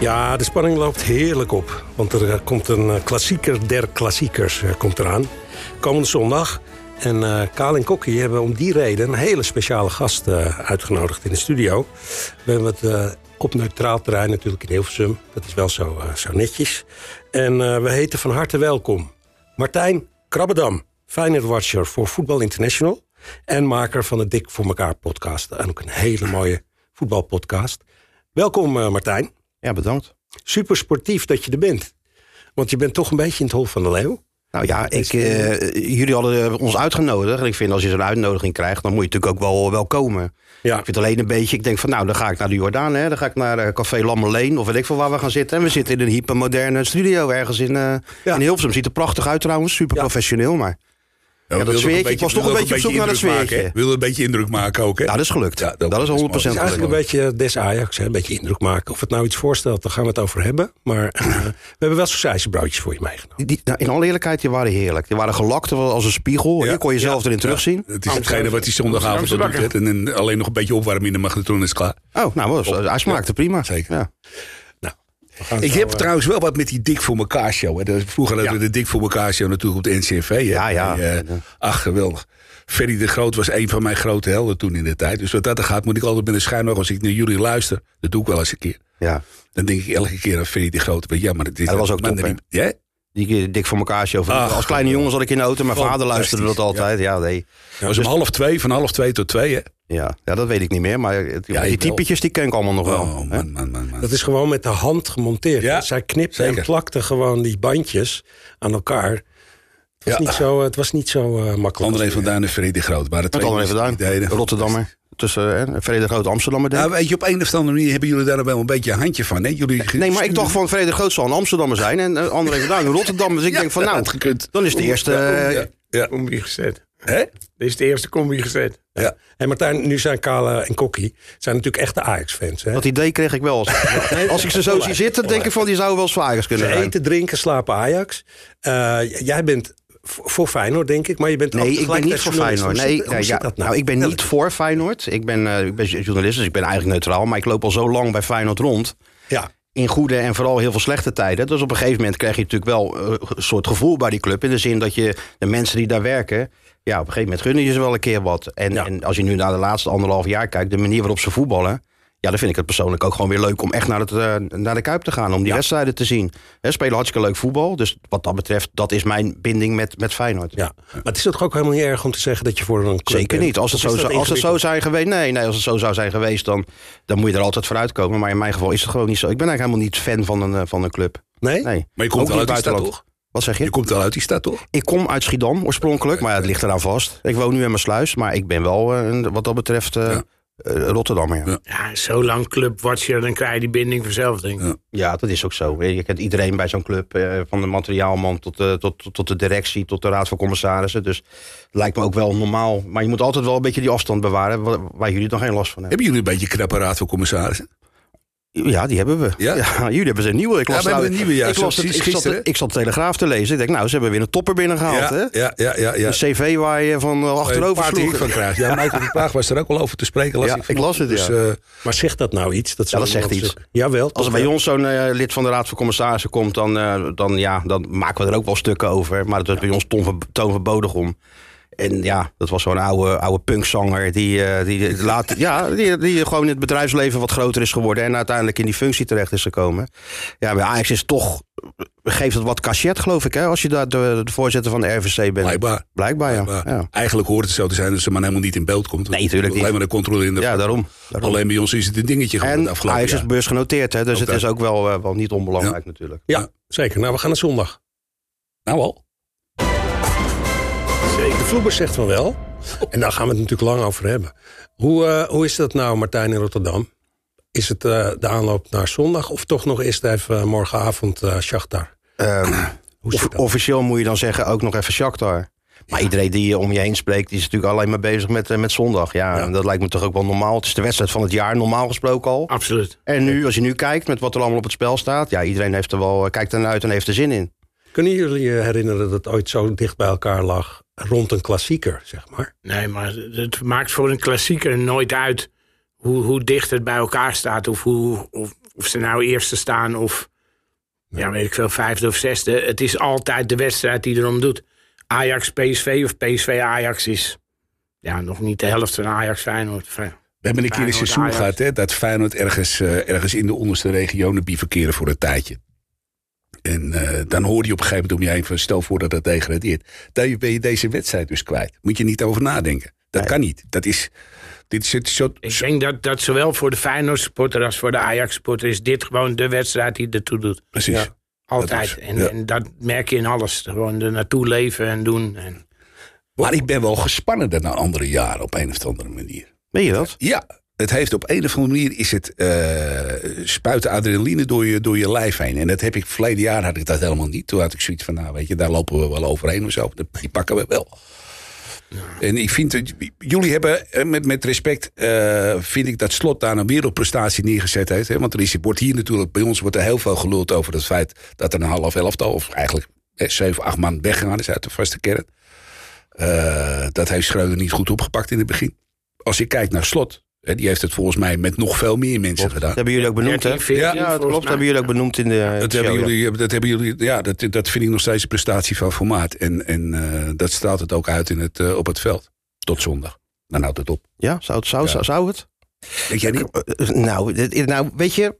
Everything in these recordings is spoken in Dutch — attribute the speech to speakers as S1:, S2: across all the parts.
S1: Ja, de spanning loopt heerlijk op. Want er eh, komt een eh, klassieker der klassiekers eh, komt eraan. Komende zondag. En eh Kaal en Kokkie hebben om die reden een hele speciale gast eh, uitgenodigd in de studio. We hebben het eh, op neutraal terrein natuurlijk in Hilversum. Dat is wel zo, eh, zo netjes. En eh, we heten van harte welkom Martijn Krabbedam. Feyenoord-watcher voor Voetbal International. En maker van de Dik voor elkaar podcast. En ook een hele mooie voetbalpodcast. Welkom eh, Martijn
S2: Ja, bedankt.
S1: super sportief dat je er bent. Want je bent toch een beetje in het hol van de leeuw.
S2: Nou ja, ik, eh, jullie hadden ons uitgenodigd. En ik vind als je zo'n uitnodiging krijgt, dan moet je natuurlijk ook wel, wel komen.
S1: Ja,
S2: Ik vind alleen een beetje, ik denk van nou, dan ga ik naar de Jordaan. Hè, dan ga ik naar eh, Café Lammerleen of weet ik veel waar we gaan zitten. En we zitten in een hypermoderne studio ergens in, eh
S1: Ja.
S2: in Hilversum. Ziet er prachtig uit trouwens, super professioneel. Maar
S3: Ja, we
S2: dat
S3: wilden
S2: zweertje.
S3: ook
S2: Ik was toch een
S3: wilden
S2: beetje
S3: ook
S2: op zoek naar dat
S3: indruk maken, hè?
S2: zweertje.
S3: We wilden een beetje indruk maken ook, hè?
S2: nou, dat is gelukt.
S3: Ja,
S2: dat,
S3: dat
S2: is
S3: is
S2: 100%
S1: het is
S2: gelukt.
S1: eigenlijk een beetje des Ajax, hè? een beetje indruk maken. Of het nou iets voorstelt, daar gaan we het over hebben. Maar eh, we hebben wel sausijzenbroodjes voor je meegenomen.
S2: Die- die- nou, in alle eerlijkheid, die waren heerlijk. Die waren gelakt als een spiegel.
S3: Ja.
S2: Je kon jezelf erin terugzien.
S3: Het is hetgene wat hij zondagavond al doet. hè. En, en alleen nog een beetje opwarmen in de magnetron en is klaar.
S2: Oh, nou, was, hij smaakte prima.
S3: Zeker.
S2: Ja.
S1: We gaan
S3: Ik
S1: zo,
S3: heb
S1: eh,
S3: trouwens wel wat met die Dik voor elkaar show. Hè. Dat- Vroeger hadden we de Dik voor elkaar show natuurlijk op de NCV. Hè.
S2: Ja, ja.
S3: En, eh, ach, geweldig. Ferry de Groot was een van mijn grote helden toen in de tijd. Dus wat dat er gaat, moet ik altijd met een schuin oog als ik naar jullie luister. Dat doe ik wel eens een keer.
S2: ja.
S3: Dan denk ik elke keer aan Ferry de Groot. Maar ja, maar dit is
S2: Ja, dat was ook
S3: maar
S2: top,
S3: dan- Ja?
S2: Die dik voor elkaar show. Van,
S1: Ah.
S3: Ach,
S2: als kleine jongen zat ik in de auto. Mijn vader luisterde dat
S3: Fantastisch,
S2: altijd. Ja, nee.
S3: was om half twee, van half twee tot twee. Hè.
S2: Ja. ja, dat weet ik niet meer. Maar het-
S3: Ja,
S2: die
S3: ik wel.
S2: typetjes die ken ik allemaal nog wel.
S3: Oh, man, man, man, man.
S1: Dat is gewoon met de hand gemonteerd.
S3: Ja,
S1: Dus Zij knipte en
S3: zeker.
S1: plakte gewoon die bandjes aan elkaar. Het was
S3: Ja.
S1: niet zo, eh, het was niet zo eh, makkelijk.
S3: André van Duin en Ferry de Groot. waren
S2: Met
S3: twee
S2: André
S3: mensen
S2: van Duin,
S3: die deden.
S2: Rotterdammer. Tussen eh, Vrede Groot Amsterdammer, denk ik.
S3: Nou, weet je, op een of andere manier hebben jullie daar wel een beetje een handje van. Hè? Jullie
S2: Nee, maar ik dacht van Vrede Groot zal een Amsterdammer zijn. En eh, André van Duin een Rotterdammer. Dus ik denk van nou,
S3: gekund.
S2: dan is de eerste... eh,
S3: Ja, ja.
S4: combi gezet.
S3: Hè?
S4: Dit is de eerste combi gezet.
S3: Ja.
S1: En Martijn, nu zijn Kale en Kokkie zijn natuurlijk echte Ajax-fans. hè?
S2: Dat idee kreeg ik wel. Als, als ik ze zo zie zitten, denk ik van die zou wel zwagers kunnen
S1: Ze
S2: zijn.
S1: eten, drinken, slapen Ajax. Eh, j- jij bent v- voor Feyenoord, denk ik. Maar je bent ook
S2: Nee, ik ben niet
S1: tegelijkertijd
S2: voor
S1: journalist.
S2: Feyenoord.
S1: Hoe
S2: Nee,
S1: zit- hoe
S2: nee,
S1: zit
S2: ja,
S1: dat nou?
S2: nou, ik ben niet voor Feyenoord. Ik ben, eh, ik ben journalist, dus ik ben eigenlijk neutraal. Maar ik loop al zo lang bij Feyenoord rond.
S1: Ja,
S2: in goede en vooral heel veel slechte tijden. Dus op een gegeven moment krijg je natuurlijk wel eh, een soort gevoel bij die club. In de zin dat je de mensen die daar werken. Ja, op een gegeven moment gunnen je ze wel een keer wat. En,
S1: Ja.
S2: en als je nu naar de laatste anderhalf jaar kijkt, de manier waarop ze voetballen. Ja, dan vind ik het persoonlijk ook gewoon weer leuk om echt naar, het, eh, naar de Kuip te gaan. Om die wedstrijden te zien. Hè, spelen hartstikke leuk voetbal. Dus wat dat betreft, dat is mijn binding met, met Feyenoord.
S1: ja, maar het is toch ook helemaal niet erg om te zeggen dat je voor een club
S2: Zeker
S1: bent?
S2: niet. Als het,
S1: Of
S2: zo,
S1: is dat
S2: als het zo
S1: ingewikkeld?
S2: zijn geweest. Nee, nee, als het zo zou zijn geweest, dan, dan moet je er altijd vooruit komen. Maar in mijn geval is het gewoon niet zo. Ik ben eigenlijk helemaal niet fan van een, eh, van een club.
S1: Nee?
S2: Nee.
S3: Maar je komt
S2: Ook
S3: wel
S2: niet
S3: uit die stad,
S2: buitenland.
S3: toch?
S2: Wat zeg
S3: Je
S2: je?
S3: komt wel uit die stad, toch?
S2: Ik kom uit Schiedam oorspronkelijk, maar ja, het ligt eraan vast. Ik woon nu in mijn sluis, maar ik ben wel eh, een- wat dat betreft eh
S3: Ja.
S2: eh, Rotterdammer. Ja.
S3: Ja.
S2: Ja.
S4: Ja, zo lang clubwatcher, dan krijg je die binding vanzelf, denk ik.
S3: Ja.
S2: dat is ook zo. Je kent iedereen bij zo'n club, eh, van de materiaalman tot, de- tot, tot, tot de directie, tot de raad van commissarissen. Dus het lijkt me ook wel normaal. Maar je moet altijd wel een beetje die afstand bewaren, wa- waar jullie dan geen last van hebben.
S3: Hebben jullie een beetje een knappe raad voor commissarissen?
S2: Ja, die hebben we.
S3: Ja?
S2: jullie hebben ze een nieuwe. Ik
S3: Ja,
S2: las
S3: we hebben
S2: nou-
S3: een nieuwe, ja,
S2: ik,
S3: zo
S2: las het-
S3: precies
S2: ik, zat,
S3: gisteren, hè?
S2: ik zat de Telegraaf te lezen. Ik denk, nou, ze hebben weer een topper binnengehaald, hè?
S3: ja, ja, ja, ja, ja.
S2: Een cv waar je van eh, achterover
S3: Paard die ik
S2: sloeg.
S3: van krijg. Ja, Michael de Praag was er ook al over te spreken. Las
S2: Ja,
S3: ik, van-
S2: ik las het,
S3: Dus,
S2: ja.
S3: eh,
S1: Maar zegt dat nou iets? Dat,
S2: dat
S1: zou
S2: zegt
S1: iemand
S2: iets.
S1: zeggen. Jawel.
S2: Als
S1: toch
S2: er bij
S1: wel.
S2: ons zo'n eh, lid van de Raad van Commissarissen komt, dan, eh, dan, ja, dan maken we er ook wel stukken over. Maar dat was bij ons Tom van, Toon van Bodegom. En ja, dat was zo'n oude, oude punkzanger die, eh, die, laat, ja, die, die gewoon in het bedrijfsleven wat groter is geworden. En uiteindelijk in die functie terecht is gekomen. Ja, bij Ajax is toch, geeft het wat cachet geloof ik hè, als je daar de, de voorzitter van de RVC bent.
S3: blijkbaar.
S2: Blijkbaar, ja.
S3: Maar
S2: ja.
S3: Eigenlijk hoort het zo te zijn dat ze maar helemaal niet in beeld komt. Want
S2: Nee, tuurlijk niet.
S3: Alleen maar de controle in de...
S2: Ja, daarom. daarom.
S3: Alleen bij ons is het een dingetje geworden de
S2: En
S3: afgelopen
S2: Ajax is
S3: jaar.
S2: beursgenoteerd, hè, dus
S3: Ook
S2: het is
S3: daar.
S2: ook wel, eh, wel niet onbelangrijk natuurlijk.
S1: Ja, zeker. Nou, we gaan naar zondag.
S2: dus
S3: Nou al.
S1: De vloeber zegt van wel. En daar gaan we het natuurlijk lang over hebben. Hoe, eh, hoe is dat nou, Martijn, in Rotterdam? Is het eh, de aanloop naar zondag? Of toch nog eerst even eh, morgenavond eh Shakhtar?
S2: Ehm,
S1: Hoe zit
S2: Of-
S1: dat?
S2: officieel moet je dan zeggen ook nog even Shakhtar. Maar iedereen die eh, om je heen spreekt, die is natuurlijk alleen maar bezig met, eh, met zondag. Ja,
S1: Ja.
S2: en dat lijkt me toch ook wel normaal. Het is de wedstrijd van het jaar, normaal gesproken al.
S4: Absoluut.
S3: Ah,
S2: En nu, als je nu kijkt met wat er allemaal op het spel staat. Ja, iedereen heeft er wel, eh, kijkt ernaar uit en heeft er zin in.
S1: Kunnen jullie je herinneren dat het ooit zo dicht bij elkaar lag rond een klassieker, zeg maar?
S4: Nee, maar het maakt voor een klassieker nooit uit hoe, hoe dicht het bij elkaar staat. Of hoe, of, Of ze nou eerste staan of, ja, weet ik veel, vijfde of zesde. Het is altijd de wedstrijd die erom doet. Ajax PSV of PSV Ajax is ja, nog niet de helft van Ajax Feyenoord. Fe-
S3: We hebben een keer een
S4: Feyenoord,
S3: seizoen
S4: Ajax.
S3: gehad hè, dat Feyenoord ergens, eh, ergens in de onderste regionen bivakeren voor een tijdje. En eh, dan hoor je op een gegeven moment om je heen van stel voor dat dat degradeert. Dan ben je deze wedstrijd dus kwijt. Moet je niet over nadenken. Dat kan niet. Dat is, dit is het soort...
S4: Ik denk dat, dat zowel voor de Feyenoord supporter als voor de Ajax supporter is dit gewoon de wedstrijd die ertoe doet.
S3: Precies.
S1: Ja.
S4: Altijd.
S3: Dat is-
S4: en,
S3: ja.
S4: en dat merk je in alles. Gewoon er naartoe leven en doen. En,
S3: Maar ik ben wel gespannen dan naar andere jaren op een of andere manier.
S2: Meen je dat?
S3: Ja, het heeft op een of andere manier is het eh, spuiten adrenaline door je, door je lijf heen. En dat heb ik verleden jaar had ik dat helemaal niet. Toen had ik zoiets van, nou weet je, daar lopen we wel overheen of zo. Die pakken we wel. En ik vind, dat- jullie hebben, eh, met, met respect, eh, vind ik dat Slot daar een wereldprestatie neergezet heeft. Hè? Want er is, wordt hier natuurlijk, bij ons wordt er heel veel geluld over het feit dat er een half elftal, of eigenlijk eh, zeven, acht man weggegaan is uit de vaste kern. Eh, dat heeft Schreuder niet goed opgepakt in het begin. Als je kijkt naar Slot, hè, die heeft het volgens mij met nog veel meer mensen gedaan.
S2: Dat hebben jullie ook benoemd, hè?
S4: 13, 14
S2: Ja, dat
S4: volgens
S2: klopt.
S4: mij.
S2: Dat hebben jullie ook benoemd in de.
S3: Dat
S2: show,
S3: hebben,
S2: ja.
S3: jullie, dat hebben jullie, ja, dat, dat vind ik nog steeds een prestatie van formaat. En, en eh, dat straalt het ook uit in het, eh, op het veld. Tot zondag. Dan houdt het op.
S2: Ja, zou het? Zou,
S3: Ja.
S2: zou- zou het?
S3: Weet jij niet?
S2: Eh, Nou, dit- nou, weet je,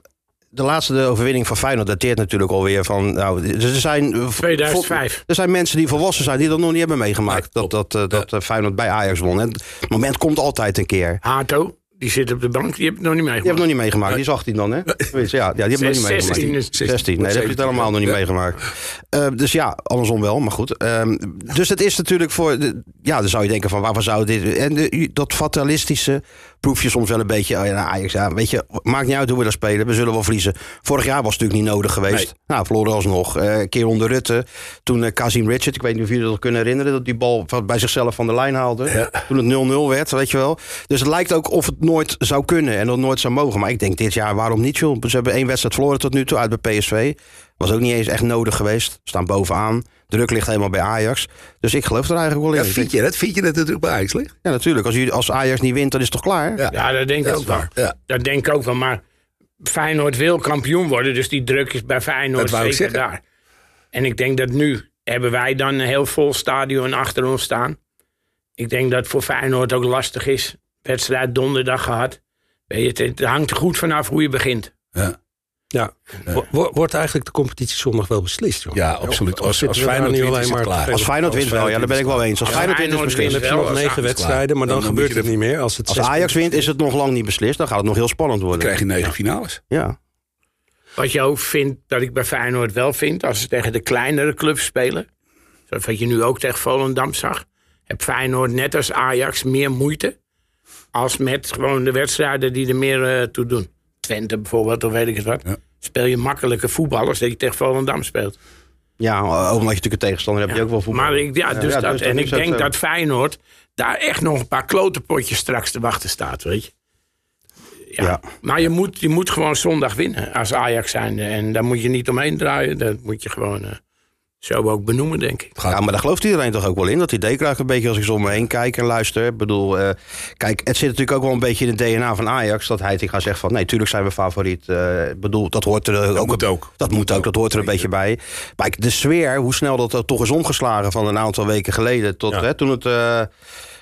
S2: de laatste de overwinning van Feyenoord dateert natuurlijk alweer van... Nou, er, zijn, eh, vo-
S4: 2005.
S2: er zijn mensen die volwassen zijn die dat nog niet hebben meegemaakt. Dat, dat, eh, dat eh, Feyenoord bij Ajax won. En het moment komt altijd een keer.
S4: Hato, die zit op de bank. Die heb ik nog niet
S2: Die
S4: meegemaakt.
S2: hebt nog niet meegemaakt. Die is 18 dan, hè? Zoiets, Ja, ja die hebben nog niet meegemaakt.
S4: 16 is-
S2: 16. Nee, dat heb je het helemaal nog niet
S3: Ja.
S2: meegemaakt. Eh, dus ja, andersom wel, maar goed. Ehm, dus het is natuurlijk voor... de- ja, dan zou je denken van waarvan zou dit... En de- dat fatalistische proef je soms wel een beetje... Oh ja, nou, Ajax, ja, weet je, maakt niet uit hoe we dat spelen. We zullen wel verliezen. Vorig jaar was het natuurlijk niet nodig geweest. Nou, verloren alsnog. Eh, Een keer onder Rutte. Toen eh Kazim Richard, ik weet niet of jullie dat kunnen herinneren... dat die bal van- bij zichzelf van de lijn haalde. Toen het 0-0 werd, weet je wel. Dus het lijkt ook of het nooit zou kunnen en dat het nooit zou mogen. Maar ik denk dit jaar, waarom niet joh? Ze hebben één wedstrijd verloren tot nu toe uit bij PSV. Was ook niet eens echt nodig geweest. Staan bovenaan. Druk ligt helemaal bij Ajax. Dus ik geloof er eigenlijk wel in.
S3: Ja,
S2: Ik
S3: vind
S2: denk-
S3: je dat? Vind je dat natuurlijk bij Ajax ligt?
S2: ja, natuurlijk. Als, jullie, als Ajax niet wint, dan is het toch klaar?
S3: Ja.
S4: Ja, dat denk ik ook wel.
S3: Ja.
S4: Dat denk ik ook wel. Maar Feyenoord wil kampioen worden. Dus die druk is bij Feyenoord
S3: Dat wou ik
S4: zeker
S3: zeggen.
S4: daar. En ik denk dat nu hebben wij dan een heel vol stadion achter ons staan. Ik denk dat het voor Feyenoord ook lastig is. Wedstrijd donderdag gehad. Weet je, het, het hangt er goed vanaf hoe je begint.
S3: Ja.
S1: Ja. Wo- wo- Wordt eigenlijk de competitie zondag wel beslist, joh?
S3: Ja, absoluut.
S1: Of- of
S3: Als-
S1: zitten
S3: als
S1: we daar
S3: Feyenoord
S1: nu
S3: wint,
S1: alleen
S3: is het
S1: maar
S3: klaar.
S1: te
S2: Als
S1: veel?
S2: Feyenoord wint wel, ja, daar ben ik wel eens. Als
S4: Ja,
S2: Feyenoord wint, is het
S4: Feyenoord
S1: Dan
S2: beslist.
S1: heb je
S4: wel,
S1: nog
S4: is
S1: negen
S4: klaar.
S1: wedstrijden, maar dan,
S3: Dan
S1: gebeurt
S3: moet je
S1: het niet meer. Als het
S2: Als
S1: zes-
S2: Ajax wint, is het nog lang niet beslist. Dan gaat het nog heel spannend
S3: Dan
S2: worden.
S3: krijg je negen finales.
S2: Ja.
S4: Wat je ook vindt, dat ik bij Feyenoord wel vind, als ze tegen de kleinere clubs spelen, zoals wat je nu ook tegen Volendam zag, heb Feyenoord net als Ajax meer moeite als met gewoon de wedstrijden die er meer eh, toe doen. Twente bijvoorbeeld, of weet ik het wat.
S3: Ja.
S4: Speel je makkelijke voetballers dat je tegen Volendam speelt.
S2: Ja, omdat je natuurlijk een tegenstander hebt die ook wel voetbal.
S4: Maar ik, ja, dus
S2: Ja,
S4: dat,
S2: dus
S4: en
S2: is
S4: ik
S2: het,
S4: denk
S2: eh,
S4: dat Feyenoord daar echt nog een paar klote potjes straks te wachten staat, weet je. Ja.
S2: Ja.
S4: Maar je moet, je moet gewoon zondag winnen als Ajax zijnde. En daar moet je niet omheen draaien. Dat moet je gewoon eh, zo ook benoemen, denk ik.
S2: Ja, maar daar gelooft iedereen toch ook wel in. Dat idee krijg ik een beetje als ik zo om me heen kijk en luister. Ik bedoel, eh, kijk, het zit natuurlijk ook wel een beetje in het DNA van Ajax. Dat hij tegen gaat zeggen van, nee, tuurlijk zijn we favoriet. Eh, Ik bedoel, dat hoort er ook,
S3: moet ook.
S2: Dat moet ook, dat hoort er een beetje bij. Maar ik- de sfeer, hoe snel dat er toch is omgeslagen van een aantal weken geleden. Tot
S1: Ja.
S2: hè, toen het, eh,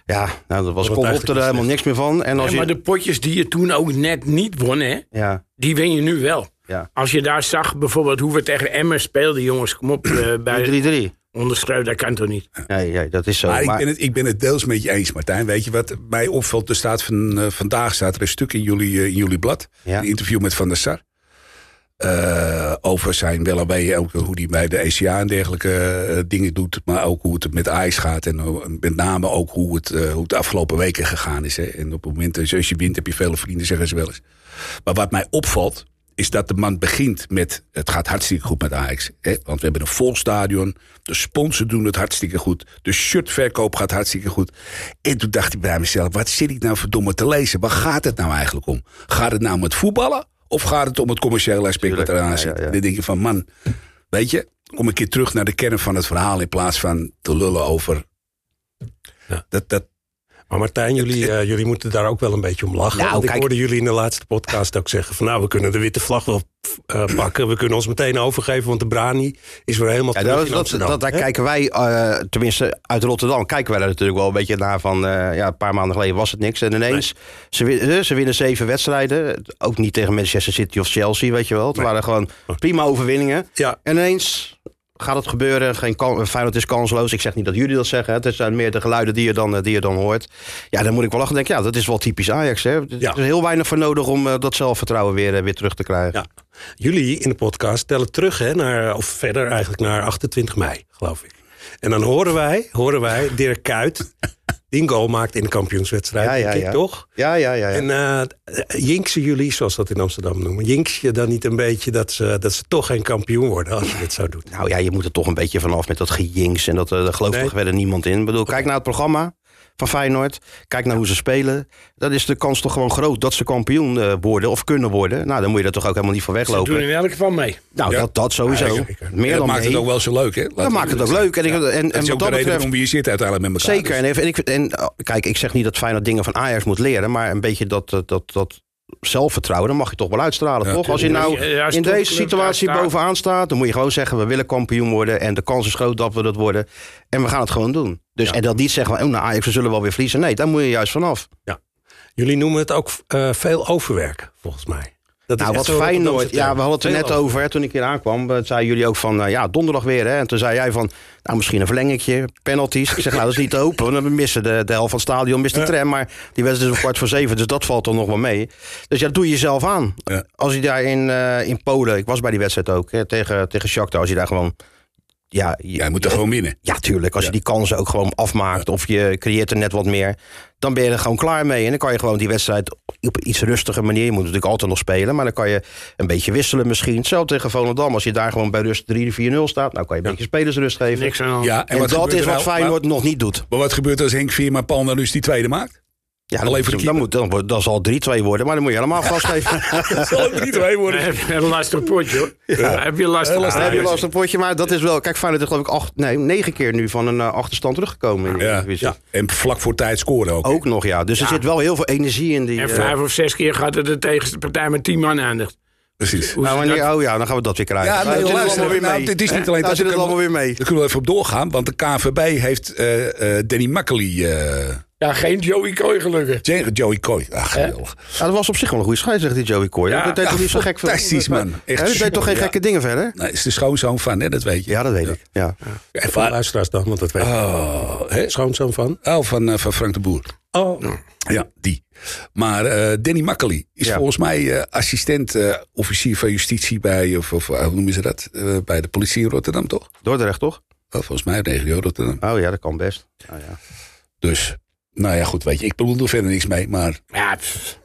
S2: ja, nou, dat was,
S1: het
S2: kon
S1: eigenlijk
S2: op er helemaal niks meer van. En als
S4: Ja, maar
S2: je,
S4: de potjes die je toen ook net niet won, hè,
S2: ja,
S4: die win je nu wel.
S2: ja.
S4: Als je daar zag bijvoorbeeld hoe we tegen Emmen speelden, jongens, kom op, eh, bij
S2: 3-3.
S4: onderschreeuw, dat kan toch niet?
S2: Nee, nee, dat is zo.
S3: Maar,
S2: Maar,
S3: ik, ben het, ik ben het deels met je eens, Martijn. Weet je wat mij opvalt? Er staat van, eh, vandaag staat er een stuk in jullie, eh, in jullie blad.
S2: Ja.
S3: Een interview met Van der Sar. Eh, over zijn wel en wee, ook hoe hij bij de ECA en dergelijke eh, dingen doet. Maar ook hoe het met Ajax gaat. En eh, met name ook hoe het, eh, hoe het de afgelopen weken gegaan is. Hè. En op het moment, dat je- als je wint, heb je vele vrienden, zeggen ze wel eens. Maar wat mij opvalt, is dat de man begint met... het gaat hartstikke goed met Ajax. Hè? Want we hebben een vol stadion. De sponsors doen het hartstikke goed. De shirtverkoop gaat hartstikke goed. En toen dacht ik bij mezelf, wat zit ik nou verdomme te lezen? Waar gaat het nou eigenlijk om? Gaat het nou om het voetballen? Of gaat het om het commerciële aspect wat
S2: Tuurlijk,
S3: eraan
S2: ja,
S3: zit?
S2: ja, ja.
S3: Dan denk je van, man, weet je... kom een keer terug naar de kern van het verhaal... in plaats van te lullen over... Dat, dat,
S1: Maar Martijn, jullie, eh, jullie moeten daar ook wel een beetje om lachen.
S2: Nou,
S1: want ik
S2: kijk-
S1: hoorde jullie in de laatste podcast ook zeggen... van nou, we kunnen de witte vlag wel pff, eh, pakken. We kunnen ons meteen overgeven, want de Brani is weer helemaal
S2: Ja,
S1: terug
S2: dat,
S1: in
S2: dat,
S1: Amsterdam.
S2: dat, daar
S1: Hè?
S2: kijken wij, eh, tenminste uit Rotterdam, kijken wij daar natuurlijk wel een beetje naar van... eh, ja, een paar maanden geleden was het niks. En ineens, ze, winnen, eh, ze winnen zeven wedstrijden. Ook niet tegen Manchester City of Chelsea, weet je wel. Het waren gewoon prima overwinningen.
S1: Ja.
S2: En ineens gaat het gebeuren. Geen kan, eh, Feyenoord is kansloos. Ik zeg niet dat jullie dat zeggen. hè. Het zijn meer de geluiden die je dan, eh, die je dan hoort. Ja, dan moet ik wel lachen. Denk, ik, ja, dat is wel typisch Ajax. Hè?
S1: Ja.
S2: Er is heel weinig voor nodig om eh, dat zelfvertrouwen weer, eh, weer terug te krijgen.
S1: Ja. Jullie in de podcast tellen terug, hè, naar, of verder eigenlijk, naar 28 mei, geloof ik. En dan horen wij, horen wij Dirk Kuyt die een goal maakt in de kampioenswedstrijd.
S2: Ja, ja,
S1: denk ik,
S2: ja.
S1: Toch?
S2: Ja, ja, ja. ja.
S1: En eh jinksen jullie, zoals ze dat in Amsterdam noemen, jinks je dan niet een beetje dat ze, dat ze toch geen kampioen worden als je dit zo doet?
S2: Nou ja, je moet er toch een beetje vanaf met dat gejinks. En dat, eh, daar gelooft
S1: Nee.
S2: toch verder niemand in. Ik bedoel, kijk naar het programma van Feyenoord. Kijk naar hoe ze spelen. Dan is de kans toch gewoon groot dat ze kampioen eh, worden of kunnen worden. Nou, dan moet je er toch ook helemaal niet van
S4: Ze doen
S2: weglopen.
S4: in elk geval mee.
S2: Nou, dat, dat sowieso.
S1: Ja, zeker, zeker.
S2: Meer
S3: En dat
S2: dan
S3: maakt het
S2: mee.
S3: ook wel zo leuk, hè? Laten
S2: Dat
S3: we
S2: maakt het ook
S3: zeggen.
S2: leuk. En, ik, en,
S3: Dat
S2: en
S3: is
S2: wat
S3: ook de
S2: dat
S3: reden
S2: betreft...
S3: waarom we hier zitten uiteindelijk met elkaar.
S2: Zeker. En,
S4: dus.
S2: even- en, ik, vind- en eh, kijk, ik zeg niet dat Feyenoord dingen van Ajax moet leren. Maar een beetje dat, dat, dat, dat zelfvertrouwen, dat mag je toch wel uitstralen,
S3: Ja,
S2: toch? Als je nou
S4: Ja, als
S2: in
S4: topclub
S2: deze situatie
S4: daar staat-
S2: bovenaan staat, dan moet je gewoon zeggen... we willen kampioen worden en de kans is groot dat we dat worden. En we gaan het gewoon doen. Dus en dat niet zeggen, van, oh, nou Ajax, we zullen wel weer verliezen. Nee, daar moet je juist vanaf.
S1: Jullie noemen het ook eh, veel overwerk, volgens mij. Dat is
S2: Nou,
S1: echt
S2: wat
S1: zo'n
S2: Feyenoord.
S1: Rotterdamse
S2: Ja,
S1: term.
S2: we hadden het er
S1: Veel
S2: net over hè, toen ik hier aankwam. eh, zeiden jullie ook van, eh, ja, donderdag weer. Hè, en toen zei jij van, nou, misschien een verlengetje, penalties. Ik zeg, nou, dat is niet te hopen. Want we missen de, de helft van het stadion, missen de tram. Maar die wedstrijd is om kwart voor zeven, dus dat valt dan nog wel mee. Dus ja, dat doe je jezelf aan.
S3: Ja.
S2: Als je daar in, eh, in Polen, ik was bij die wedstrijd ook, hè, tegen, tegen Shakhtar. Als je daar gewoon, ja... je-
S3: Jij moet er gewoon winnen.
S2: ja, tuurlijk. Als je die kansen ook gewoon afmaakt of je creëert er net wat meer, dan ben je er gewoon klaar mee. En dan kan je gewoon die wedstrijd op een iets rustiger manier, je moet natuurlijk altijd nog spelen, maar dan kan je een beetje wisselen misschien. Zo tegen Volendam, als je daar gewoon bij rust 3-4-0 staat, nou kan je een beetje spelersrust geven.
S4: Niks aan de hand.
S3: Ja,
S2: En,
S3: wat
S2: dat
S3: gebeurt
S2: is
S3: er
S2: wat
S3: nou-
S2: Feyenoord nog niet doet.
S3: Maar wat gebeurt als Henk Veerma Palnalus die tweede maakt?
S2: Ja,
S3: Alleen
S2: dan,
S3: voor
S2: dan,
S3: de keeper.
S2: moet, dan, wordt- dan zal 3-2 worden, maar dan moet je helemaal vastgeven.
S3: Dat zal ook niet twee
S4: Dan
S3: worden.
S4: heb je een lastig potje hoor. Dan heb je een lastig
S2: Dan heb je
S4: potje.
S2: last een potje, maar dat is wel... Kijk, Feyenoord is geloof ik acht, nee, negen keer nu van een eh, achterstand teruggekomen. In de
S3: Ja,
S2: Eredivisie.
S3: ja. En vlak voor tijd scoren ook.
S2: Ook nog, ja. Dus er zit wel heel veel energie in die...
S4: En
S2: eh,
S4: vijf of zes keer gaat het de tegenpartij met tien man eindigt.
S3: Precies.
S4: Hoe
S2: Nou,
S4: ze
S2: wanneer-
S4: dat-
S2: oh ja, dan gaan we dat weer krijgen.
S3: Ja,
S2: Nou,
S3: nee,
S2: dan zit het
S3: luister,
S2: allemaal weer
S3: nou,
S2: mee.
S3: dit is niet alleen
S2: Nou,
S3: dat.
S2: zit het
S3: daar
S2: allemaal
S3: kunnen
S2: weer mee.
S3: we- Daar kunnen we even op doorgaan, want de KNVB heeft eh, eh, Danny Makkely, eh,
S4: Ja, geen Joey Kooi gelukkig.
S3: tegen Joey Kooi. Ach, geweldig.
S2: Ja, dat was op zich wel een goede scheidsrechter, die Joey Coy.
S4: Ja,
S2: dat deed
S3: ja,
S2: toch niet zo gek veel-
S3: fantastisch, man. Echt
S2: Hè, die deed
S3: super,
S2: toch geen
S3: ja.
S2: gekke dingen verder?
S3: Nou, is de schoonzoon van, hè, dat weet je.
S2: Ja, dat weet ik. Ja.
S1: En voor de luisteraars dan, want dat weet ik.
S3: Oh,
S2: Eh,
S3: hè?
S1: Schoonzoon van?
S3: Oh, van, eh, van Frank de Boer.
S1: Oh,
S3: Ja, die. Maar eh, Danny Makkely is
S2: Ja.
S3: volgens mij eh, assistent eh, officier van justitie bij, of, of eh, hoe noemen ze dat? Eh, bij de politie in Rotterdam, toch?
S2: Dordrecht, toch?
S3: Oh, volgens mij regio Rotterdam.
S2: Oh ja, dat kan best. Oh, ja.
S3: Dus, nou ja, goed, weet je. Ik bedoel er verder niks mee, maar
S4: Ja, pff.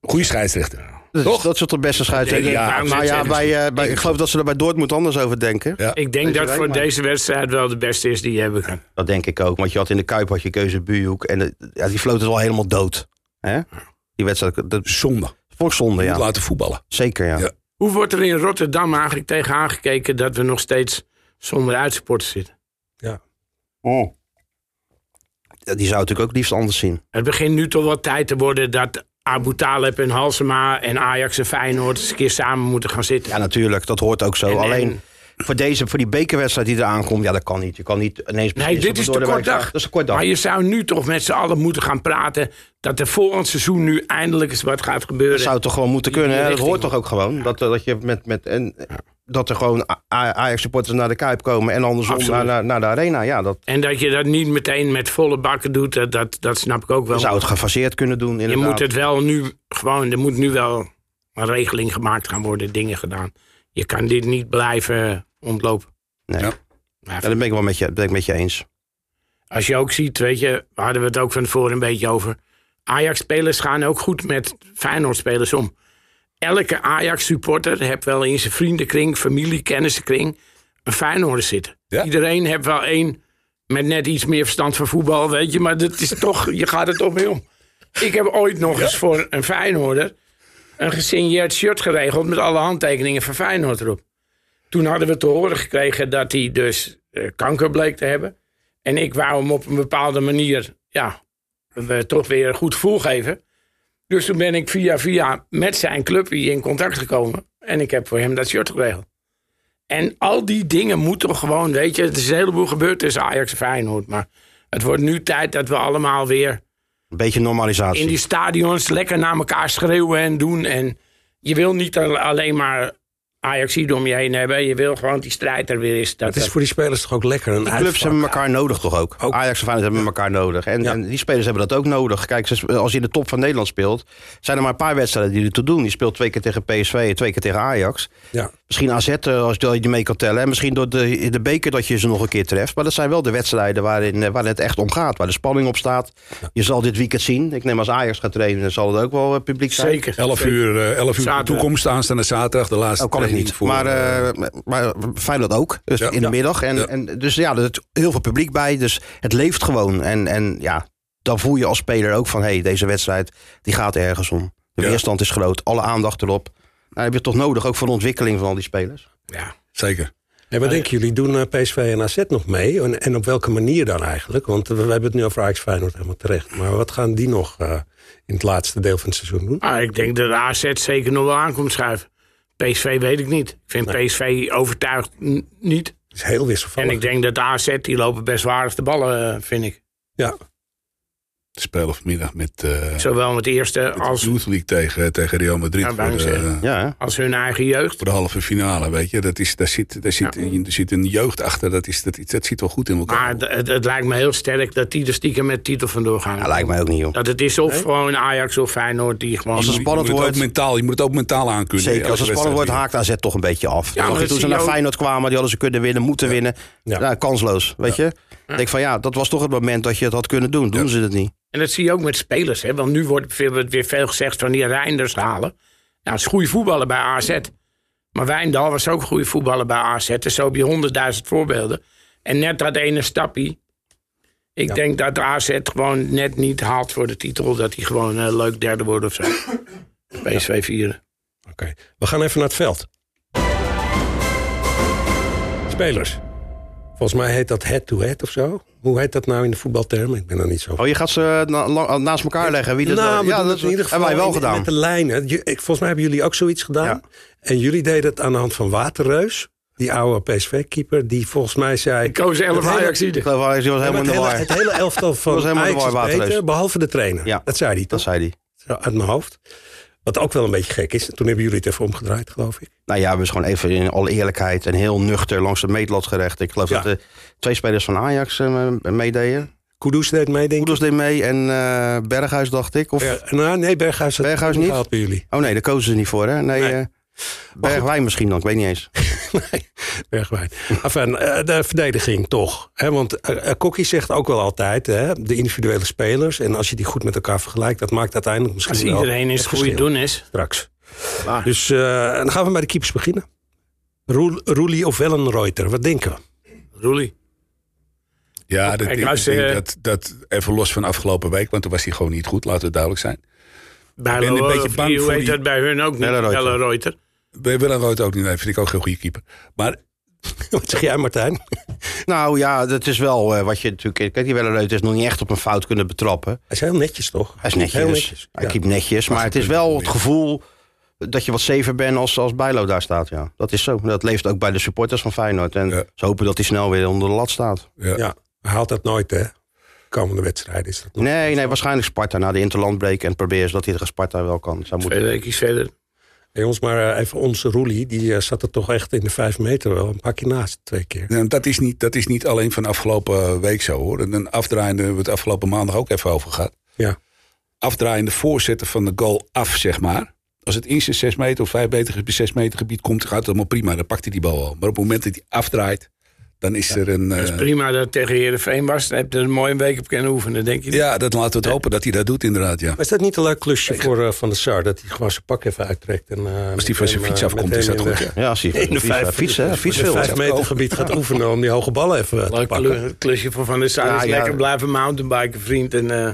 S3: goede scheidsrechter.
S2: dat,
S3: Toch?
S2: is, Dus dat is toch de beste scheidsrechter?
S4: Ja,
S2: Ja,
S4: waarom
S2: nou ja,
S4: zit-
S2: bij, eh, bij, ik geloof dat ze er bij Dortmund anders over denken.
S3: Ja.
S4: ik denk dat
S2: wij
S4: voor
S2: maar.
S4: deze wedstrijd wel de beste is die je hebben kan.
S2: Dat denk ik ook. Want je had in de Kuip had je keuze Bujuk. En de- ja, die floot is al helemaal dood. Hè? Die wedstrijd, dat
S3: Zonde.
S2: vond ik zonde,
S3: Moet
S2: ja.
S3: laten voetballen.
S2: Zeker, ja.
S3: Ja.
S4: Hoe wordt er in Rotterdam eigenlijk tegen aangekeken dat we nog steeds zonder uitsporters zitten?
S2: Oh. Die zou natuurlijk ook liefst anders zien.
S4: Het begint nu toch wel tijd te worden dat Abu Talib en Halsema en Ajax en Feyenoord eens een keer samen moeten gaan zitten.
S2: Ja, natuurlijk. Dat hoort ook zo.
S4: En-
S2: Alleen
S4: en-
S2: voor, deze, voor die bekerwedstrijd die eraan komt, ja, dat kan niet. Je kan niet ineens
S4: Nee,
S2: beslissen
S4: dit
S2: of
S4: is
S2: het
S4: de
S2: door
S4: kort
S2: wedstrijd-
S4: dag.
S2: Dat is de kort dag.
S4: Maar je zou nu toch met z'n allen moeten gaan praten dat er volgend seizoen nu eindelijk eens wat gaat gebeuren.
S2: Dat zou toch gewoon moeten kunnen. Hè? Dat
S4: richting.
S2: hoort toch ook gewoon. Dat, eh, dat je met, met en, eh, dat er gewoon A- A- Ajax-supporters naar de Kuip komen en andersom
S4: Absoluut.
S2: naar, naar, naar de Arena. Ja, dat
S4: En dat je dat niet meteen met volle bakken doet, dat, dat, dat snap ik ook wel.
S2: zou het gefaseerd kunnen doen.
S4: je
S2: Inderdaad.
S4: moet het wel nu gewoon, er moet nu wel een regeling gemaakt gaan worden, dingen gedaan. Je kan dit niet blijven ontlopen.
S2: Nee.
S3: Ja.
S4: Maar
S2: Ja, dat ben ik wel met je, ben ik met je eens.
S4: Als je ook ziet, weet je, we hadden we het ook van tevoren een beetje over. Ajax-spelers gaan ook goed met Feyenoord-spelers om. Elke Ajax-supporter heeft wel in zijn vriendenkring, familie, kennissenkring een Feyenoorder zitten.
S3: Ja.
S4: Iedereen heeft wel één met net iets meer verstand van voetbal, weet je. Maar dat is toch, je gaat er toch mee om. Ik heb ooit nog eens voor een Feyenoorder een gesigneerd shirt geregeld met alle handtekeningen van Feyenoord erop. Toen hadden we te horen gekregen dat hij dus eh, kanker bleek te hebben. En ik wou hem op een bepaalde manier ja, we toch weer een goed gevoel geven. Dus toen ben ik via via met zijn club hier in contact gekomen. En ik heb voor hem dat shirt geregeld. En al die dingen moeten gewoon, weet je, het is een heleboel gebeurd tussen Ajax en Feyenoord. Maar het wordt nu tijd dat we allemaal weer
S2: Een beetje normalisatie.
S4: in die stadions lekker naar elkaar schreeuwen en doen. En je wil niet al- alleen maar Ajax om je heen hebben. Je wil gewoon die strijd er weer is. Dat
S1: Het is voor die spelers toch ook lekker een
S2: Clubs
S1: uitvak.
S2: hebben elkaar nodig toch ook?
S1: Ook.
S2: Ajax en Feyenoord hebben elkaar nodig. En, en die spelers hebben dat ook nodig. Kijk, ze- als je in de top van Nederland speelt... zijn er maar een paar wedstrijden die er toe doen. Je speelt twee keer tegen PSV, twee keer tegen Ajax.
S1: Ja.
S2: Misschien AZ, eh, als je die mee kan tellen. En misschien door de, de beker dat je ze nog een keer treft. Maar dat zijn wel de wedstrijden waarin, eh, waar het echt om gaat. Waar de spanning op staat. Je zal dit weekend zien. Ik neem als Ajax gaat trainen, zal het ook wel eh, publiek zijn.
S4: zeker.
S3: 11 uur, eh, 11 uur
S4: Zaterdag.
S3: toekomst aanstaande zaterdag, de laatste
S2: Nou, kan ik
S3: training
S2: niet.
S3: voor,
S2: maar,
S3: eh,
S2: eh maar Feyenoord ook. Dus
S3: Ja.
S2: in de
S3: Ja.
S2: middag. En,
S3: Ja.
S2: en, dus ja, er is heel veel publiek bij. Dus het leeft gewoon. En, en ja, dan voel je als speler ook van... hé, hey, deze wedstrijd die gaat ergens om. De
S3: Ja.
S2: weerstand is groot. Alle aandacht erop. Nou, heb je toch nodig, ook voor de ontwikkeling van al die spelers.
S4: Ja.
S3: zeker.
S1: En wat denken jullie, doen eh, PSV en AZ nog mee? En, en op welke manier dan eigenlijk? Want eh, we, hebben het nu over Ajax Feyenoord helemaal terecht. Maar wat gaan die nog eh, in het laatste deel van het seizoen doen?
S4: Ah, ik denk dat de AZ zeker nog wel aankomt schuiven. PSV weet ik niet. Ik vind PSV overtuigd n- niet.
S1: Het is heel
S2: Oh.
S1: wisselvallig.
S4: En ik denk dat de AZ, die lopen best waardig de ballen, eh, vind ik.
S1: Ja,
S3: Ze spelen vanmiddag met, eh,
S4: Zowel met de eerste
S3: met de
S4: als,
S3: Youth League tegen, tegen Real Madrid
S4: Ja, wou
S3: voor,
S4: ik
S3: de,
S4: zeggen.
S2: Ja, hè?
S4: als hun eigen jeugd.
S3: voor de halve finale. Weet je? Dat is, daar, zit, daar, zit, daar zit een jeugd achter, dat, is, dat, dat zit wel goed in elkaar.
S4: Maar het, het, het lijkt me heel sterk dat die er stiekem met titel vandoor gaan.
S2: Ja, Nou, lijkt mij ook niet, joh.
S4: Dat het is of gewoon Ajax of Feyenoord die gewoon...
S2: Als het
S3: je, moet
S2: spannend
S3: het
S2: wordt...
S3: ook mentaal, je moet het ook mentaal aankunnen.
S2: Zeker, als het
S3: Elke
S2: spannend wordt,
S3: wedstrijd.
S2: haakt AZ toch een beetje af.
S4: maar
S2: Nog
S4: dat
S2: toen ze
S4: zie
S2: naar
S4: je ook.
S2: Feyenoord kwamen, die hadden ze kunnen winnen, moeten winnen.
S1: Ja.
S2: Nou, kansloos, weet je. Ik denk van ja, dat was toch het moment dat je het had kunnen doen. Doen ze het niet.
S4: En dat zie je ook met spelers. Hè? Want nu wordt weer, weer veel gezegd van die Reinders halen. Nou, dat is goede voetballer bij AZ. Maar Wijndal was ook goede voetballer bij AZ. Dus zo heb je honderdduizend voorbeelden. En net dat ene stapje. Ik denk dat de AZ gewoon net niet haalt voor de titel. Dat die gewoon eh, leuk derde wordt of zo. PSV vieren.
S1: oké. We gaan even naar het veld. Spelers. Volgens mij heet dat head-to-head of zo. Hoe heet dat nou in de voetbaltermen? Ik ben er niet zo
S2: Oh, je gaat ze na- la- naast elkaar leggen. Wie dat
S1: Nou, we
S2: ja,
S1: doen
S2: dat
S1: het in ieder geval
S2: hebben wij wel
S1: in-
S2: gedaan.
S1: Met de lijnen. Je- ik- Volgens mij hebben jullie ook zoiets gedaan. En jullie deden het aan de hand van Waterreus. Die oude PSV-keeper. Die volgens mij zei...
S4: Ik koos 11
S1: hele-
S2: Ik
S4: Ajaxiden.
S2: geloof wel, die was helemaal
S1: het,
S2: in de
S1: hele,
S2: war.
S1: het hele elftal
S2: was
S1: van
S2: helemaal in de
S1: Ajax is
S2: war, Waterreus.
S1: beter, behalve de trainer.
S2: Ja.
S1: Dat zei hij
S2: Dat
S1: toch?
S2: zei hij.
S1: Zo Uit mijn hoofd. Wat ook wel een beetje gek is. Toen hebben jullie het even omgedraaid, geloof ik.
S2: Nou ja, we zijn gewoon even in alle eerlijkheid en heel nuchter langs de meetlat gerecht. Ik geloof
S1: Ja.
S2: dat de twee spelers van Ajax eh, meededen.
S1: Kudus deed mee, denk ik.
S2: Poedels deed mee en eh, Berghuis, dacht ik. Of,
S1: Eh, nou, nee, Berghuis had
S2: Berghuis niet?
S1: gehaald bij jullie.
S2: Oh nee, daar kozen ze niet voor, hè? Nee,
S1: Nee.
S2: eh, Bergwijn misschien dan, ik weet niet eens.
S1: Nee, Bergwijn. Enfin, eh, de verdediging toch. Hè? Want eh, eh, Kokkie zegt ook wel altijd, hè, de individuele spelers. En als je die goed met elkaar vergelijkt, dat maakt uiteindelijk misschien
S4: Als
S1: wel
S4: iedereen
S1: het
S4: is goede
S1: verschil
S4: doen is.
S1: Straks.
S4: Maar-
S2: Ah.
S1: Dus eh, dan gaan we bij de keepers beginnen. Roel- Roelie of Wellenreuter, wat denken we?
S4: Roelie.
S3: Ja, dat,
S4: Kijk,
S3: ik, ik
S4: luister,
S3: denk
S4: eh,
S3: dat, dat even los van afgelopen week, want toen was hij gewoon niet goed, laten we duidelijk zijn.
S4: Bij
S3: ben een beetje bang voor
S4: eh, Hoe heet
S3: die-
S4: dat bij hun ook niet?
S2: Belle Reuter.
S4: Belle Reuter.
S3: Willem Rood ook niet, nee, vind ik ook geen goede keeper. Maar
S1: Wat zeg jij Martijn?
S2: Nou ja, dat is wel eh, wat je natuurlijk... Kijk, die Wellereut is nog niet echt op een fout kunnen betrappen.
S1: Hij is heel netjes toch?
S2: Hij is netjes.
S1: Heel netjes.
S2: Hij
S1: ja.
S2: keept netjes. Maar het is wel het gevoel dat je wat safer bent als, als Bijlo daar staat. Ja. Dat is zo. Dat leeft ook bij de supporters van Feyenoord. En
S3: Ja.
S2: ze hopen dat hij snel weer onder de lat staat.
S3: ja,
S1: Ja, hij haalt dat nooit hè. Komende wedstrijden is dat nog.
S2: Nee, nee, waarschijnlijk Sparta na de interlandbreek. En probeer eens dat hij tegen Sparta wel kan. Zou
S4: Twee
S2: moeten.
S4: weken verder.
S1: Hey, jongens, maar eh, even onze Roelie, die eh, zat er toch echt in de vijf meter wel. Een pakje naast, twee keer.
S3: Nou, dat, is niet, dat is niet alleen van afgelopen eh, week zo hoor. En een afdraaiende, we het afgelopen maandag ook even over gehad.
S1: Ja.
S3: Afdraaiende voorzetten van de goal af, zeg maar. Als het in zijn 6 meter of 5 meter, gebied- 6 meter gebied komt, gaat het allemaal prima. Dan pakt hij die bal al. Maar op het moment dat hij afdraait, dan is er een.
S4: Dat is
S3: eh,
S4: prima dat het tegen Heerenveen was. Dan heb je er een mooie week op kunnen oefenen, denk je. niet?
S3: ja, dat laten we het hopen dat hij dat doet, inderdaad. Ja.
S1: Maar is dat niet een leuk klusje voor eh, Van de Sar? Dat hij gewoon zijn pak even uittrekt. En, eh,
S3: Als hij
S1: met
S3: van zijn
S1: hem,
S3: fiets
S1: eh,
S3: afkomt,
S1: meteen
S3: is dat
S1: in de-
S3: goed. Ja.
S2: Ja, als hij
S1: In de
S2: fiets-
S1: vijf,
S2: fietsen, hè,
S1: in het
S2: fietsen.
S1: vijf meter gebied gaat oefenen om die hoge ballen even eh, te
S4: Leuk
S1: pakken.
S4: klu- klusje voor Van der Sar.
S2: Ja,
S4: is
S2: ja.
S4: Lekker blijven mountainbiken, vriend. En, eh,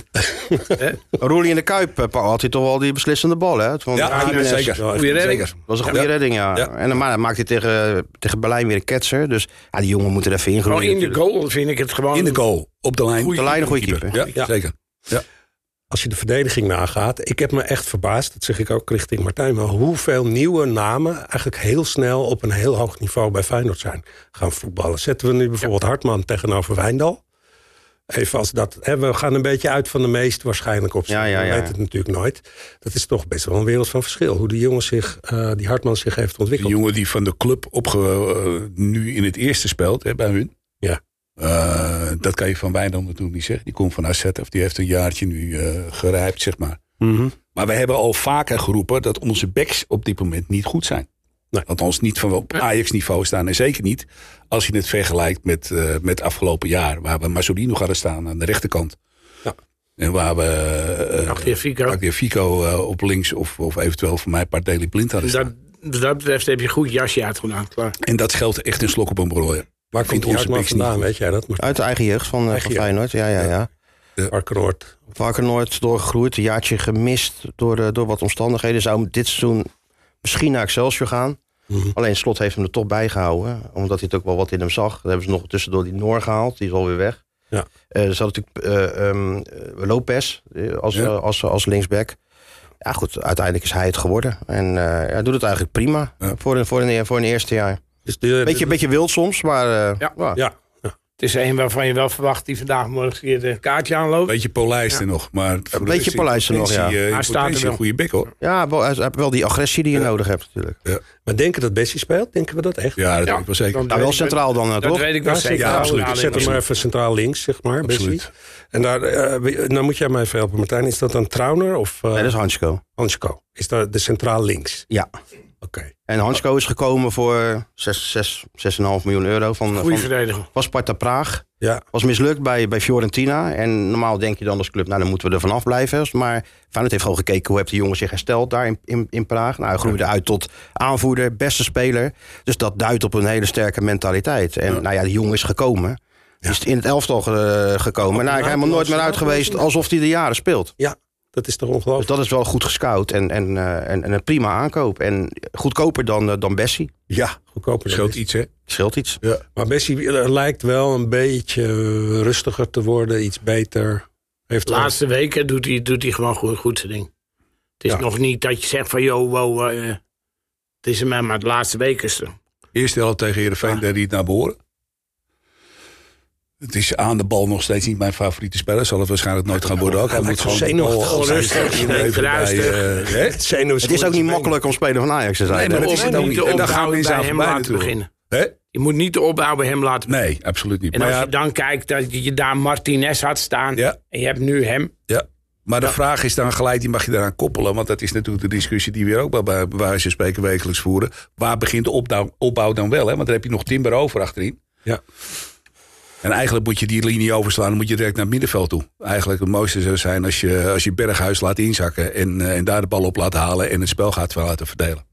S4: hè?
S2: Roelie in de Kuip eh, had hij toch wel die beslissende bal. Hè? Van
S3: Ja,
S2: Jiménez.
S3: ja, zeker.
S1: Ja,
S4: Goeie redding.
S3: Zeker.
S2: Dat was een goede
S3: Ja.
S2: redding, ja.
S3: Ja.
S2: En dan ma- maakt hij tegen, tegen Berlijn weer een ketser. Dus ja, die jongen moet er even in
S1: Oh,
S4: Gewoon
S2: groeien
S4: in de
S2: natuurlijk.
S4: goal vind ik het gewoon...
S3: In de goal, op de lijn.
S2: Op de lijn een goede
S3: Keeper.
S2: keeper.
S3: Ja, zeker.
S1: als je de verdediging nagaat. Ik heb me echt verbaasd, dat zeg ik ook richting Martijn. Maar hoeveel nieuwe namen eigenlijk heel snel op een heel hoog niveau bij Feyenoord zijn gaan voetballen. Zetten we nu bijvoorbeeld Hartman tegenover Wijndal. Even als dat. Hè, we gaan een beetje uit van de meest waarschijnlijk op.
S2: Ja, ja, ja,
S1: We
S2: ja.
S1: weten het natuurlijk nooit. Dat is toch best wel een wereld van verschil. Hoe die jongen zich, eh, die Hartman zich heeft
S3: De
S1: ontwikkeld.
S3: jongen die van de club opge, eh, nu in het eerste speelt hè, bij hun.
S1: Ja.
S3: Eh, dat kan je van Wijndal natuurlijk niet zeggen. Die komt van AZ of die heeft een jaartje nu eh gerijpt, zeg maar.
S1: Mhm.
S3: Maar we hebben al vaker geroepen dat onze backs op dit moment niet goed zijn.
S1: Nee.
S3: Althans, niet van op Ajax-niveau staan. En zeker niet als je het vergelijkt met, eh met afgelopen jaar. Waar we Mazzolino hadden staan aan de rechterkant.
S1: Ja.
S3: En waar we eh,
S4: Achter Fico.
S3: Agdia Fico eh, op links of, of eventueel voor mij Parteli Blind hadden staan.
S4: Dat, wat dat betreft heb je een goed jasje uitgedaan. Klaar.
S3: En dat geldt echt een slok op een broer.
S1: Waar
S3: vindt
S1: komt die
S3: onze
S1: Hartman
S3: backs niet
S1: vandaan,
S3: goed.
S1: weet jij dat? Maar
S2: Uit de eigen jeugd van, eh, van
S1: Eigen jeugd.
S2: Feyenoord. Ja, ja, ja.
S1: Varkenoord.
S2: Vaker nooit doorgegroeid. Een jaartje gemist door, eh, door wat omstandigheden. Zou dit seizoen misschien naar Excelsior gaan.
S1: Mhm.
S2: Alleen Slot heeft hem er toch bijgehouden. Omdat hij het ook wel wat in hem zag. Daar hebben ze nog tussendoor die Noor gehaald. Die is alweer weg.
S1: Ja.
S2: Eh, er zat natuurlijk eh, ehm, eh, Lopez eh, als,
S3: Ja.
S2: eh, als, als linksback. Ja goed, uiteindelijk is hij het geworden. En eh, hij doet het eigenlijk prima
S3: Ja.
S2: voor, een, voor, een, voor een eerste jaar.
S1: Dus de,
S2: Beetje, beetje wild soms, maar eh,
S4: Ja.
S2: ja.
S1: ja, ja.
S4: Het is een waarvan je wel verwacht die vandaag morgen hier de kaartje aanloopt.
S3: Beetje polijsten nog. Maar een
S2: beetje polijsten nog, ja.
S3: Hij
S4: Hij staat er
S3: staat eh, een
S4: wel.
S3: goede bek hoor.
S2: Ja, wel, hij heeft wel die agressie die je nodig hebt natuurlijk.
S1: Maar denken dat Bessie speelt? Denken we dat echt?
S3: Ja, dat
S4: Ja.
S3: denk ik wel zeker.
S4: Dan
S2: Nou, wel
S4: weet ik-
S2: centraal dan, eh,
S4: Dat
S2: toch?
S4: weet ik
S1: Ja,
S4: wel
S1: zeker.
S4: zeker.
S3: Ja, absoluut.
S4: Alleen-
S1: Zet hem maar even centraal links, zeg maar.
S3: Absoluut.
S1: Bessie. En daar, eh, we- nou moet jij mij even helpen, Martijn. Is dat dan Trauner of eh
S2: Nee, dat is Hansko.
S1: Hansko? Is dat de centraal links?
S2: Ja.
S1: Oké.
S2: En Hansko is gekomen voor 6, 6, 6,5 miljoen euro van,
S4: Goeie
S2: van,
S4: verdediger.
S2: van Sparta Praag.
S1: Ja.
S2: Was mislukt bij, bij Fiorentina. En normaal denk je dan als club, nou dan moeten we er vanaf blijven. Maar Feyenoord heeft gewoon gekeken hoe heeft die jongen zich hersteld daar in, in, in Praag. Nou, hij groeide uit tot aanvoerder, beste speler. Dus dat duidt op een hele sterke mentaliteit. En nou ja, die jongen is gekomen. Is in het elftal eh, gekomen. Nou, hij is helemaal nooit meer uit geweest alsof hij de jaren speelt.
S1: Ja, dat is toch
S2: Dus
S1: ongelooflijk?
S2: dat is wel goed gescout en, en, eh, en, en een prima aankoop. En goedkoper dan, eh, dan Bessie.
S3: Ja,
S1: Goedkoper dan
S3: scheelt
S1: Bessie.
S3: iets hè.
S2: Scheelt iets.
S1: Maar Bessie eh, lijkt wel een beetje eh, rustiger te worden, iets beter. Heeft
S4: De laatste weken doet hij, doet hij gewoon goed, goed zijn ding. Het is
S1: Ja.
S4: nog niet dat je zegt van, yo, wow, eh, het is hem, maar de laatste weken is er.
S3: Eerste helft tegen Heerenveen deed hij het naar behoren. Het is aan de bal nog steeds niet mijn favoriete speler. Zal het waarschijnlijk nooit gaan worden ook. Hij moet
S1: lijkt
S3: gewoon
S1: zenuwachtig,
S3: de bal
S4: onrustig,
S3: even bij,
S4: druistig.
S3: eh, hè?
S2: Het is ook niet makkelijk om speler van Ajax te zijn.
S3: Nee, maar
S2: hè?
S3: dat
S4: Om
S3: is het ook
S4: niet
S3: niet.
S4: de
S3: En dan gaan we
S4: opbouw
S3: eens
S4: bij
S3: aan
S4: hem
S3: voorbij
S4: laten
S3: natuurlijk.
S4: beginnen.
S3: Hè?
S4: Je moet niet de opbouw bij hem laten
S3: Nee, absoluut niet.
S4: En
S3: Maar,
S4: als
S3: ja,
S4: je dan kijkt dat je daar Martinez had staan
S3: Ja.
S4: en je hebt nu hem.
S3: ja. maar de vraag is dan gelijk, die mag je daaraan koppelen. Want dat is natuurlijk de discussie die we hier ook bij- bij wijze van spreken wekelijks voeren. Waar begint de opdou- opbouw dan wel? Hè? Want daar heb je nog Timber over achterin.
S1: Ja.
S3: En eigenlijk moet je die linie overslaan. Dan moet je direct naar het middenveld toe. Eigenlijk het mooiste zou zijn als je, als je Berghuis laat inzakken. En, eh, en daar de bal op laat halen. En het spel gaat wel laten verdelen.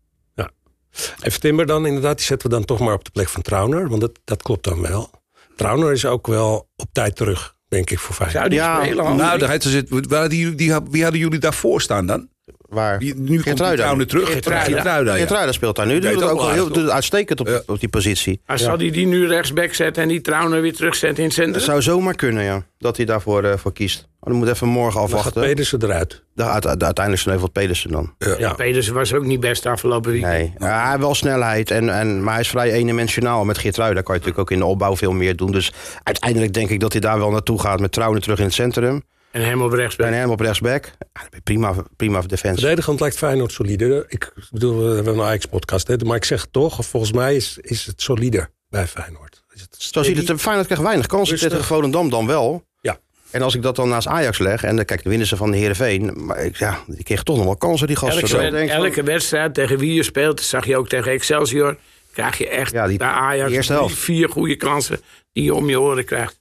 S1: Even Timber dan, inderdaad, die zetten we dan toch maar op de plek van Trauner. Want dat, dat klopt dan wel. Trauner is ook wel op tijd terug, denk ik, voor
S4: Zou
S1: Feyenoord.
S4: die
S2: Ja,
S4: spelen? Hans?
S3: Nou, daar had ze- waar die, die, wie hadden jullie daarvoor staan dan?
S2: Waar?
S3: Wie- Nu komt
S2: Geertruida.
S3: Trouwner terug.
S4: Geertruida.
S3: Geertruida, ja.
S2: Geertruida speelt daar nu.
S3: Deed
S2: Die doet het
S3: ook
S2: ook wel
S3: aardig,
S2: heel, doet het uitstekend op,
S3: Ja.
S2: op die positie.
S4: Maar zal hij die nu rechtsback zetten en die Trauner weer terugzetten in het
S2: Het
S4: centrum?
S2: zou zomaar kunnen, ja. Dat hij daarvoor eh, voor kiest. Maar dan moet even morgen
S1: Dan gaat
S2: afwachten.
S1: Pedersen eruit.
S2: Da- uite- uiteindelijk sneuvelt Pedersen dan.
S1: Ja.
S4: Pedersen was ook niet best afgelopen weekend.
S2: Nee, Ja, hij heeft wel snelheid, en, en, maar hij is vrij eendimensionaal. Met Geertruida kan je natuurlijk ook in de opbouw veel meer doen. Dus uiteindelijk denk ik dat hij daar wel naartoe gaat. Met Trouwen terug in het centrum.
S4: En hem op rechtsback.
S2: En hem op rechtsback. Ja, dan heb je prima, prima defensie.
S1: Verdedigend lijkt Feyenoord solider. Ik bedoel, we hebben een Ajax-podcast, hè, maar ik zeg toch, volgens mij is, is het solider bij Feyenoord. Is het
S2: Zo ziet het. er- Feyenoord krijgt weinig kansen
S1: Rustig.
S2: tegen Volendam dan wel.
S1: Ja.
S2: En als ik dat dan naast Ajax leg, en dan kijk, de winnen ze van de Heerenveen. Maar ik, ja, die kregen toch nog wel kansen, die gasten.
S4: Elke,
S2: Dus ik
S4: wed-
S2: denk van-
S4: elke wedstrijd tegen wie je speelt, dat zag je ook tegen Excelsior. Krijg je echt
S2: Ja, die-
S4: bij Ajax
S2: die eerste
S4: drie,
S2: helft.
S4: vier goede kansen die je om je oren krijgt.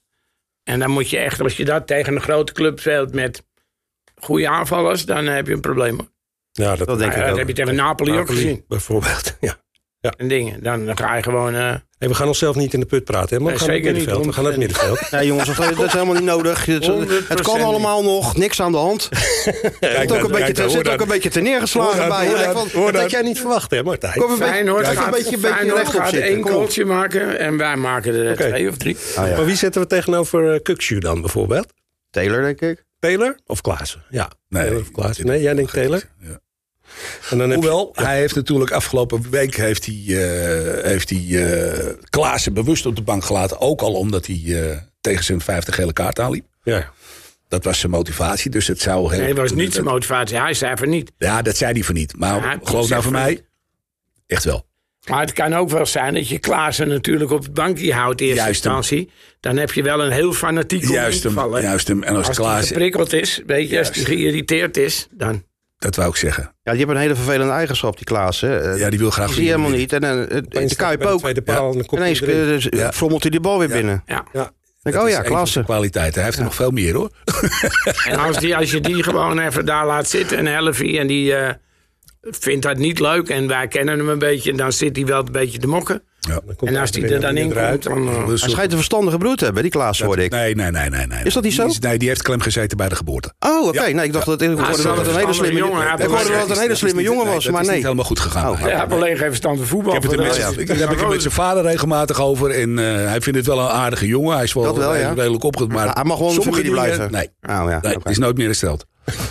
S4: En dan moet je echt, als je dat tegen een grote club speelt met goede aanvallers, dan heb je een probleem. hoor.
S1: Ja, dat,
S2: Dat denk
S4: Nou Ja,
S2: ik
S4: dat
S2: ook.
S4: heb je tegen Napoli, ook
S1: Napoli
S4: gezien.
S1: Bijvoorbeeld, ja.
S4: En dingen. Dan, dan ga je gewoon. eh,
S1: Hey, we gaan onszelf niet in de put praten, hè? maar we
S4: Nee,
S1: gaan naar het
S4: zeker niet,
S1: middenveld. We gaan naar het middenveld.
S2: Nee, jongens, dat, dat is helemaal niet nodig. Het,
S4: 100%
S2: het kan
S4: niet.
S2: allemaal nog, niks aan de hand.
S1: Kijk,
S2: Het ook een beetje, te- zit ook een beetje te neergeslagen bij. je. Denk van,
S1: dat had jij niet verwacht, hè Martijn?
S2: Kom een beetje,
S4: Feyenoord
S2: kijk,
S4: gaat,
S2: een beetje, een beetje
S4: Feyenoord
S2: rechtop
S4: gaat
S2: zitten.
S4: één
S2: Kom op.
S4: goaltje maken en wij maken er
S1: Oké.
S4: twee of drie.
S2: Ah, ja.
S1: Maar wie zetten we tegenover eh, Kukçu dan bijvoorbeeld?
S2: Taylor, denk ik.
S1: Taylor of Klaassen? Ja. Taylor of Klaassen.
S3: ik-
S1: Nee, jij denkt Taylor.
S3: Ja.
S1: En dan heb je-
S3: Hoewel, hij heeft natuurlijk afgelopen week heeft hij, eh, heeft hij eh, Klaassen bewust op de bank gelaten. Ook al omdat hij eh, tegen zijn vijfde gele kaart aanliep.
S1: ja.
S3: Dat was zijn motivatie, dus het zou heel...
S4: Nee, dat was niet zijn
S3: dat-
S4: motivatie. Hij zei van niet.
S3: Ja, dat zei hij voor niet. Maar
S4: Ja,
S3: geloof nou
S4: zeg
S3: voor
S4: maar.
S3: mij, echt wel.
S4: Maar het kan ook wel zijn dat je Klaassen natuurlijk op het bankje houdt in eerste
S3: Juist hem.
S4: instantie. Dan heb je wel een heel fanatiek
S3: Juist hem,
S4: invallen.
S3: juist hem. En als,
S4: Als hij
S3: Klaas,
S4: geprikkeld is, weet je, als hij geïrriteerd is, dan...
S3: dat wou ik zeggen.
S2: Ja, die hebben een hele vervelende eigenschap, die Klaas. Hè. Eh,
S3: Ja, die wil graag...
S2: die zie je helemaal niet. En dan eh, de Kuip
S1: bij de
S2: ook.
S1: tweede paal en dan komt hij
S2: Ineens
S1: erin.
S2: eh, dus,
S3: Ja.
S2: frommelt hij die bal weer binnen.
S4: Ja.
S1: Ja.
S2: Dan denk ik, oh ja,
S3: klasse.
S2: Klaassen.
S3: Kwaliteit. Hij heeft er nog veel meer hoor.
S4: En als, die, als je die gewoon even daar laat zitten, een helfie, en die eh, vindt dat niet leuk en wij kennen hem een beetje, dan zit hij wel een beetje te mokken.
S3: Ja.
S1: Dan komt
S4: En als die
S1: erin
S4: er dan in
S1: eruit.
S4: komt, dan... eh,
S3: Dus
S2: Hij schijnt een verstandige broer te hebben, die Klaas, hoorde ik.
S3: Nee, nee, nee, nee, nee.
S2: Is dat niet zo?
S3: nou, Die nee, die heeft klem gezeten bij de geboorte.
S2: Oh, oké. Nee, ik dacht dat ik
S4: hij
S2: hoorde
S4: is
S2: wel dat
S4: wel
S2: een hele
S4: een
S2: slimme
S4: jongen, hij
S2: jongen. Ik
S4: heeft
S2: hoorde wel dat een hele slimme jongen
S3: Nee,
S2: was,
S3: dat
S2: maar
S3: is
S2: nee.
S3: niet helemaal goed gegaan.
S2: Oh,
S3: Nee.
S4: Hij heeft alleen geen verstand van voetbal.
S3: Ik heb het er
S4: voor de
S3: met zijn-
S4: rest.
S3: Oh, ik- dat heb ik met zijn vader regelmatig over. En eh, hij vindt het wel een aardige jongen. Hij is wel,
S2: Dat wel, ja.
S3: hij is redelijk opgegroeid. Maar
S2: Ja, hij mag wel in de
S3: sommige
S2: familie
S3: dingen-
S2: blijven.
S3: Nee,
S2: Oh ja,
S3: nee
S2: oké.
S3: die is nooit meer hersteld.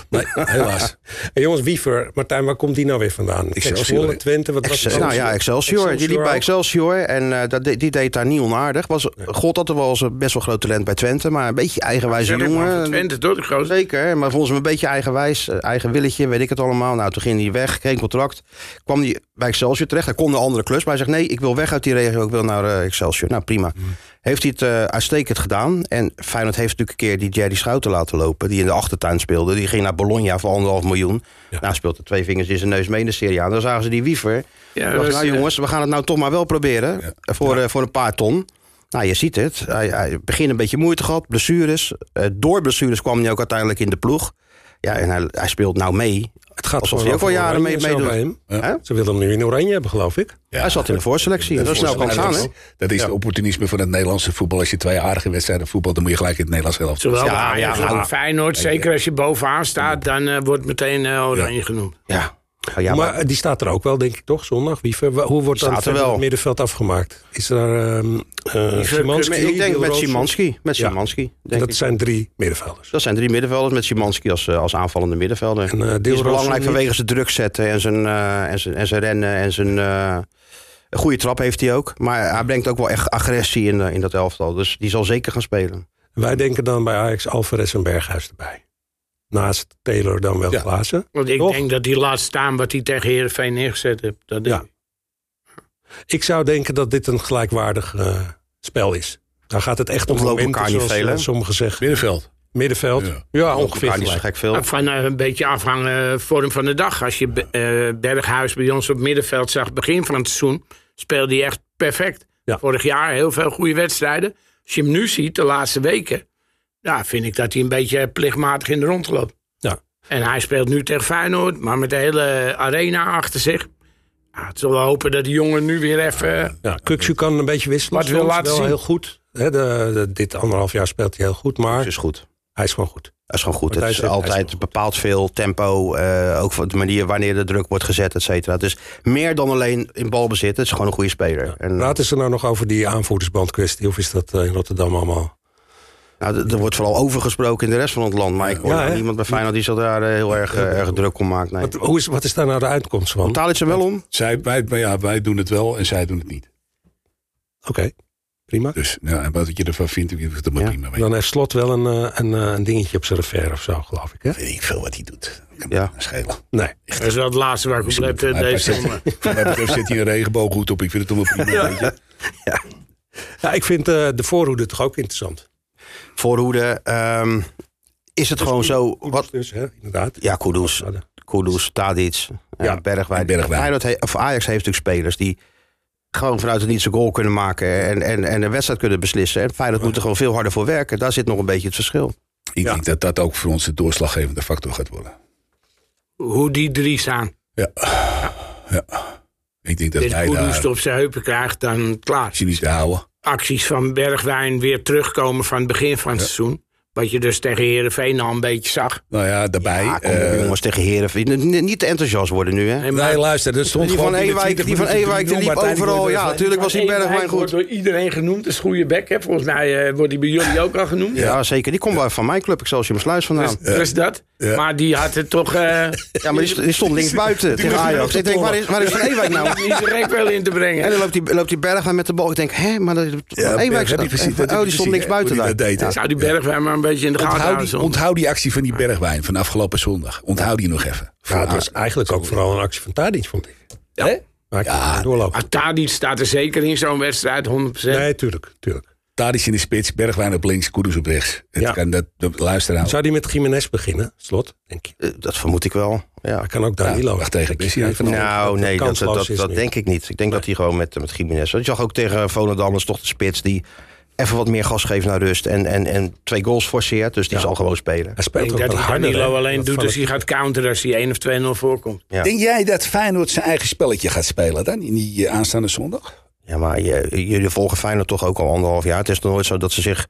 S3: Nee, helaas.
S1: En jongens, Wiever, Martijn, waar komt die nou weer vandaan?
S3: Excelsior.
S1: Zwolle, Twente, wat was
S2: Excel- nou ja, Excelsior. Die liep bij Excelsior en eh, dat, de- die deed daar niet onaardig. Was, God had er wel eens een best wel groot talent bij Twente, maar een beetje eigenwijze
S3: eh,
S4: jongen.
S2: jongen.
S4: Twente, toch? De grootste.
S2: Zeker, maar volgens mij een beetje eigenwijs, eh, eigen willetje, weet ik het allemaal. Nou, toen ging hij weg, geen contract. Kwam hij bij Excelsior terecht, hij kon naar een andere klus. Maar hij zegt, nee, ik wil weg uit die regio, ik wil naar eh, Excelsior. Nou, prima.
S4: Mm.
S2: Heeft hij het eh, uitstekend gedaan. En Feyenoord heeft natuurlijk een keer die Jerry Schouten laten lopen... die in de achtertuin speelde. Die ging naar Bologna voor anderhalf miljoen. Nou, speelt er twee vingers in zijn neus mee in de Serie A. Dan zagen ze die wiever.
S4: Ja,
S2: Dacht,
S4: dat is,
S2: nou
S4: eh,
S2: jongens, we gaan het nou toch maar wel proberen. Eh, Voor, eh, voor een paar ton. Nou, je ziet het. Hij, hij begint een beetje moeite gehad. Blessures. Eh, door blessures kwam hij ook uiteindelijk in de ploeg. Ja, en hij, hij speelt nou mee.
S1: Het gaat
S2: Alsof
S1: gewoon
S2: hij ook
S1: over
S2: al jaren
S1: Oranje
S2: mee-
S1: en zo
S2: meedoet.
S1: bij hem.
S2: Hè?
S1: Ze wilden hem nu in oranje hebben, geloof ik.
S3: Ja.
S2: hij zat in de voorselectie. nou Zo snel kan het gaan, hè?
S3: Dat is, dat is het opportunisme van het Nederlandse voetbal. Als je twee aardige wedstrijden voetbalt, dan moet je gelijk in het Nederlands helft.
S4: Zowel bij
S2: Ja,
S4: Ajax
S2: ja,
S3: nou,
S4: als
S2: maar-
S4: bij Feyenoord. Zeker als je bovenaan staat, dan eh, wordt meteen eh, oranje genoemd.
S2: Ja. Oh, ja, maar,
S1: maar eh, die staat er ook wel, denk ik toch, zondag? Wiever, Wa- hoe wordt
S2: Die
S1: dan
S2: staat er
S1: verder
S2: wel.
S1: het middenveld afgemaakt? Is er ehm eh Szymanski,
S2: ik denk met
S1: Wielroos?
S2: Simanski. Met
S1: Ja.
S2: Szymanski, denk
S1: Dat
S2: ik.
S1: zijn drie middenvelders.
S2: Dat zijn drie middenvelders met Simanski als, eh, als aanvallende middenvelder.
S1: En, eh,
S2: die is
S1: Deelroos
S2: belangrijk
S1: niet.
S2: vanwege zijn druk zetten en zijn, eh, en zijn, en zijn rennen en zijn eh, een goede trap heeft hij ook. Maar hij brengt ook wel echt agressie in, eh, in dat elftal. Dus die zal zeker gaan spelen.
S1: Wij denken dan bij Ajax Alvarez en Berghuis erbij. Naast Taylor dan wel
S3: Ja.
S1: Klaassen.
S4: Want ik
S1: Toch?
S4: denk dat die laat staan wat hij tegen Heerenveen neergezet heeft. Dat denk
S1: Ja.
S4: ik.
S1: Ik zou denken dat dit een gelijkwaardig eh, spel is. Dan gaat het echt om
S2: Ontlopen
S1: momenten,
S2: elkaar niet
S1: zoals
S2: veel, hè?
S1: eh, sommigen zeggen.
S3: Middenveld.
S1: Middenveld, ja,
S3: Ja.
S1: ongeveer
S2: Elkaar niet zo
S1: gelijk.
S2: gek veel.
S4: Van eh, een beetje afhangen eh, vorm van de dag. Als je Be- eh, Berghuis bij ons op middenveld zag, begin van het seizoen, speelde hij echt perfect.
S1: Ja.
S4: Vorig jaar heel veel goede wedstrijden. Als je hem nu ziet, de laatste weken, ja, vind ik dat hij een beetje plichtmatig in de rond loopt.
S1: Ja.
S4: En hij speelt nu tegen Feyenoord, maar met de hele arena achter zich. Ja, het zullen we hopen dat die jongen nu weer even...
S1: Ja, Kuksu kan een beetje wisselen.
S4: Wat wil
S1: soms,
S4: laten
S1: wel
S4: zien.
S1: heel goed. Hè, de, de- dit anderhalf jaar speelt hij heel goed,
S2: Het
S1: maar
S2: Dus is goed.
S1: hij is gewoon goed.
S2: Dat is gewoon goed.
S1: Maar
S2: Het
S1: hij
S2: is
S1: is- hij is
S2: altijd
S1: goed.
S2: bepaald veel tempo. eh, ook van de manier wanneer de druk wordt gezet, et cetera. Dus meer dan alleen in balbezit. Het is gewoon een goede speler. En,
S1: Praten ze nou nog over die aanvoerdersband kwestie? Of is dat eh, in Rotterdam allemaal?
S2: nou, d- er wordt vooral over gesproken in de rest van het land. Maar ik hoor
S1: Ja,
S2: nou
S1: hè?
S2: niemand bij Feyenoord die zich daar eh, heel erg, eh, erg druk om maakt. Nee.
S1: Wat, hoe is, wat is daar nou de uitkomst van? Oké,
S2: Taal iets er wel om?
S3: Zij, wij, maar ja, wij doen het wel en zij doen het niet.
S1: prima.
S3: Dus nou, en wat je ervan vindt, dat moet
S2: Ja.
S3: prima mee.
S1: Dan heeft Slot wel een, eh, een, eh, een dingetje op zijn refer of zo, geloof ik. Hè?
S3: Weet ik veel wat hij doet. Kan
S2: Ja.
S3: me schelen.
S1: Nee.
S4: Dat is wel het laatste waar ik op let eh,
S3: Hij
S4: deze
S3: zit-
S4: zomer.
S3: Voor mij betreft zit hij een regenbooghoed op. Ik vind het allemaal prima. weet je.
S1: Ja, ik vind eh, de voorhoede toch ook interessant.
S2: voorhoede. ehm, is het gewoon zo. Wat,
S1: Wat? Dus, hè, inderdaad.
S2: ja, Kudus, Kudus Tadic, eh,
S1: Ja,
S2: Bergwijn.
S3: en Bergwijn.
S2: Feyenoord he- of Ajax heeft natuurlijk spelers die gewoon vanuit het niets een goal kunnen maken. En, en, en een wedstrijd kunnen beslissen. En Feyenoord moet er gewoon veel harder voor werken. Daar zit nog een beetje het verschil.
S3: Ik
S1: Ja.
S3: denk dat dat ook voor ons de doorslaggevende factor gaat worden.
S4: Hoe die drie staan.
S3: Ja. ja. Ik denk dat
S4: Als
S3: hij
S4: Kudus het
S3: daar
S4: op zijn heupen krijgt, dan klaar.
S3: cynisch te houden.
S4: Acties van Bergwijn weer terugkomen van het begin van het seizoen. Wat je dus tegen Herenveen al een beetje zag.
S3: Nou ja, daarbij.
S2: Ja, Ah, kom op,
S3: eh,
S2: jongens, tegen Heerenveen. N- n- Niet te enthousiast worden nu, hè?
S4: Nee, maar-
S3: nee, luister, er stond
S2: Die
S3: gewoon
S2: van
S3: binnen
S2: Ewijk,
S3: 20
S2: die van
S3: minuten
S2: Ewijk, die
S3: drie-nul,
S2: liep
S3: maar
S2: overal.
S3: uiteindelijk wordt
S2: Ja,
S3: het-
S2: natuurlijk was die
S4: Eén
S2: Bergwijn
S4: wijk Wordt
S2: goed.
S4: door iedereen genoemd, is goede bek. Hè? Volgens mij eh, wordt die bij jullie ook al genoemd.
S2: Ja, zeker. Die komt wel van mijn club, Excelsior Sluis vandaan.
S4: Dus dat. Maar die had het toch. eh
S2: Ja, maar die, die stond links buiten tegen
S3: was
S2: Ajax.
S3: erachter
S2: Ik denk, waar is, waar is Van Ewijk nou?
S4: niet zo gek wel in te brengen.
S2: En dan loopt die, loopt die Bergwijn met de bal. Ik denk, hè, maar dat, Van
S3: Ja,
S2: Ewijk
S3: heb je
S2: staat.
S3: precies, dat
S2: Oh,
S3: heb je
S2: die stond
S3: precies,
S2: links
S3: hè,
S2: buiten
S3: hoe
S2: daar.
S3: die dat deed, hè.
S4: Zou die Bergwijn maar een beetje in de gaten
S3: Onthoud
S4: houden?
S3: die,
S4: soms?
S3: onthoud die actie van die Bergwijn van afgelopen zondag. Onthoud die nog even.
S1: Ja, het was eigenlijk ook vooral een actie van Tadic, vond ik. Ja. Maar ik ja, doorloop.
S4: Maar Tadic staat er zeker in zo'n wedstrijd, 100%.
S1: Nee, tuurlijk, tuurlijk.
S3: Tadic in de spits, Bergwijn op links, Koeders op rechts. Het
S1: Ja.
S3: kan dat, dat luisteraar.
S1: Zou die met Jiménez beginnen, slot? Denk je.
S2: Eh, Dat vermoed ik wel. Ja.
S1: Hij kan ook Danilo.
S3: wacht tegen
S1: Denk je
S3: Messi.
S1: even
S2: Nou,
S1: dat
S2: nee, dat, dat,
S1: kansloos
S2: dat,
S1: is nu.
S2: denk ik niet. Ik denk dat hij gewoon met, met Gimenez. Je zag ook tegen Volendam, dat is toch de spits die even wat meer gas geeft naar rust. En, en, en twee goals forceert, dus die zal gewoon spelen.
S1: Hij
S4: Ik
S1: speelt
S4: denk
S1: ook
S4: dat
S1: wat
S4: hij
S1: harder.
S4: Danilo
S1: hè.
S4: alleen
S1: Dat
S4: doet dus
S1: vond
S4: als
S1: ik-
S4: hij gaat counteren als hij 1 of 2-0 voorkomt.
S2: Ja.
S3: Denk jij dat Feyenoord zijn eigen spelletje gaat spelen dan in die eh, aanstaande zondag?
S2: Ja, maar je- jullie volgen Feyenoord toch ook al anderhalf jaar. Het is nog nooit zo dat ze zich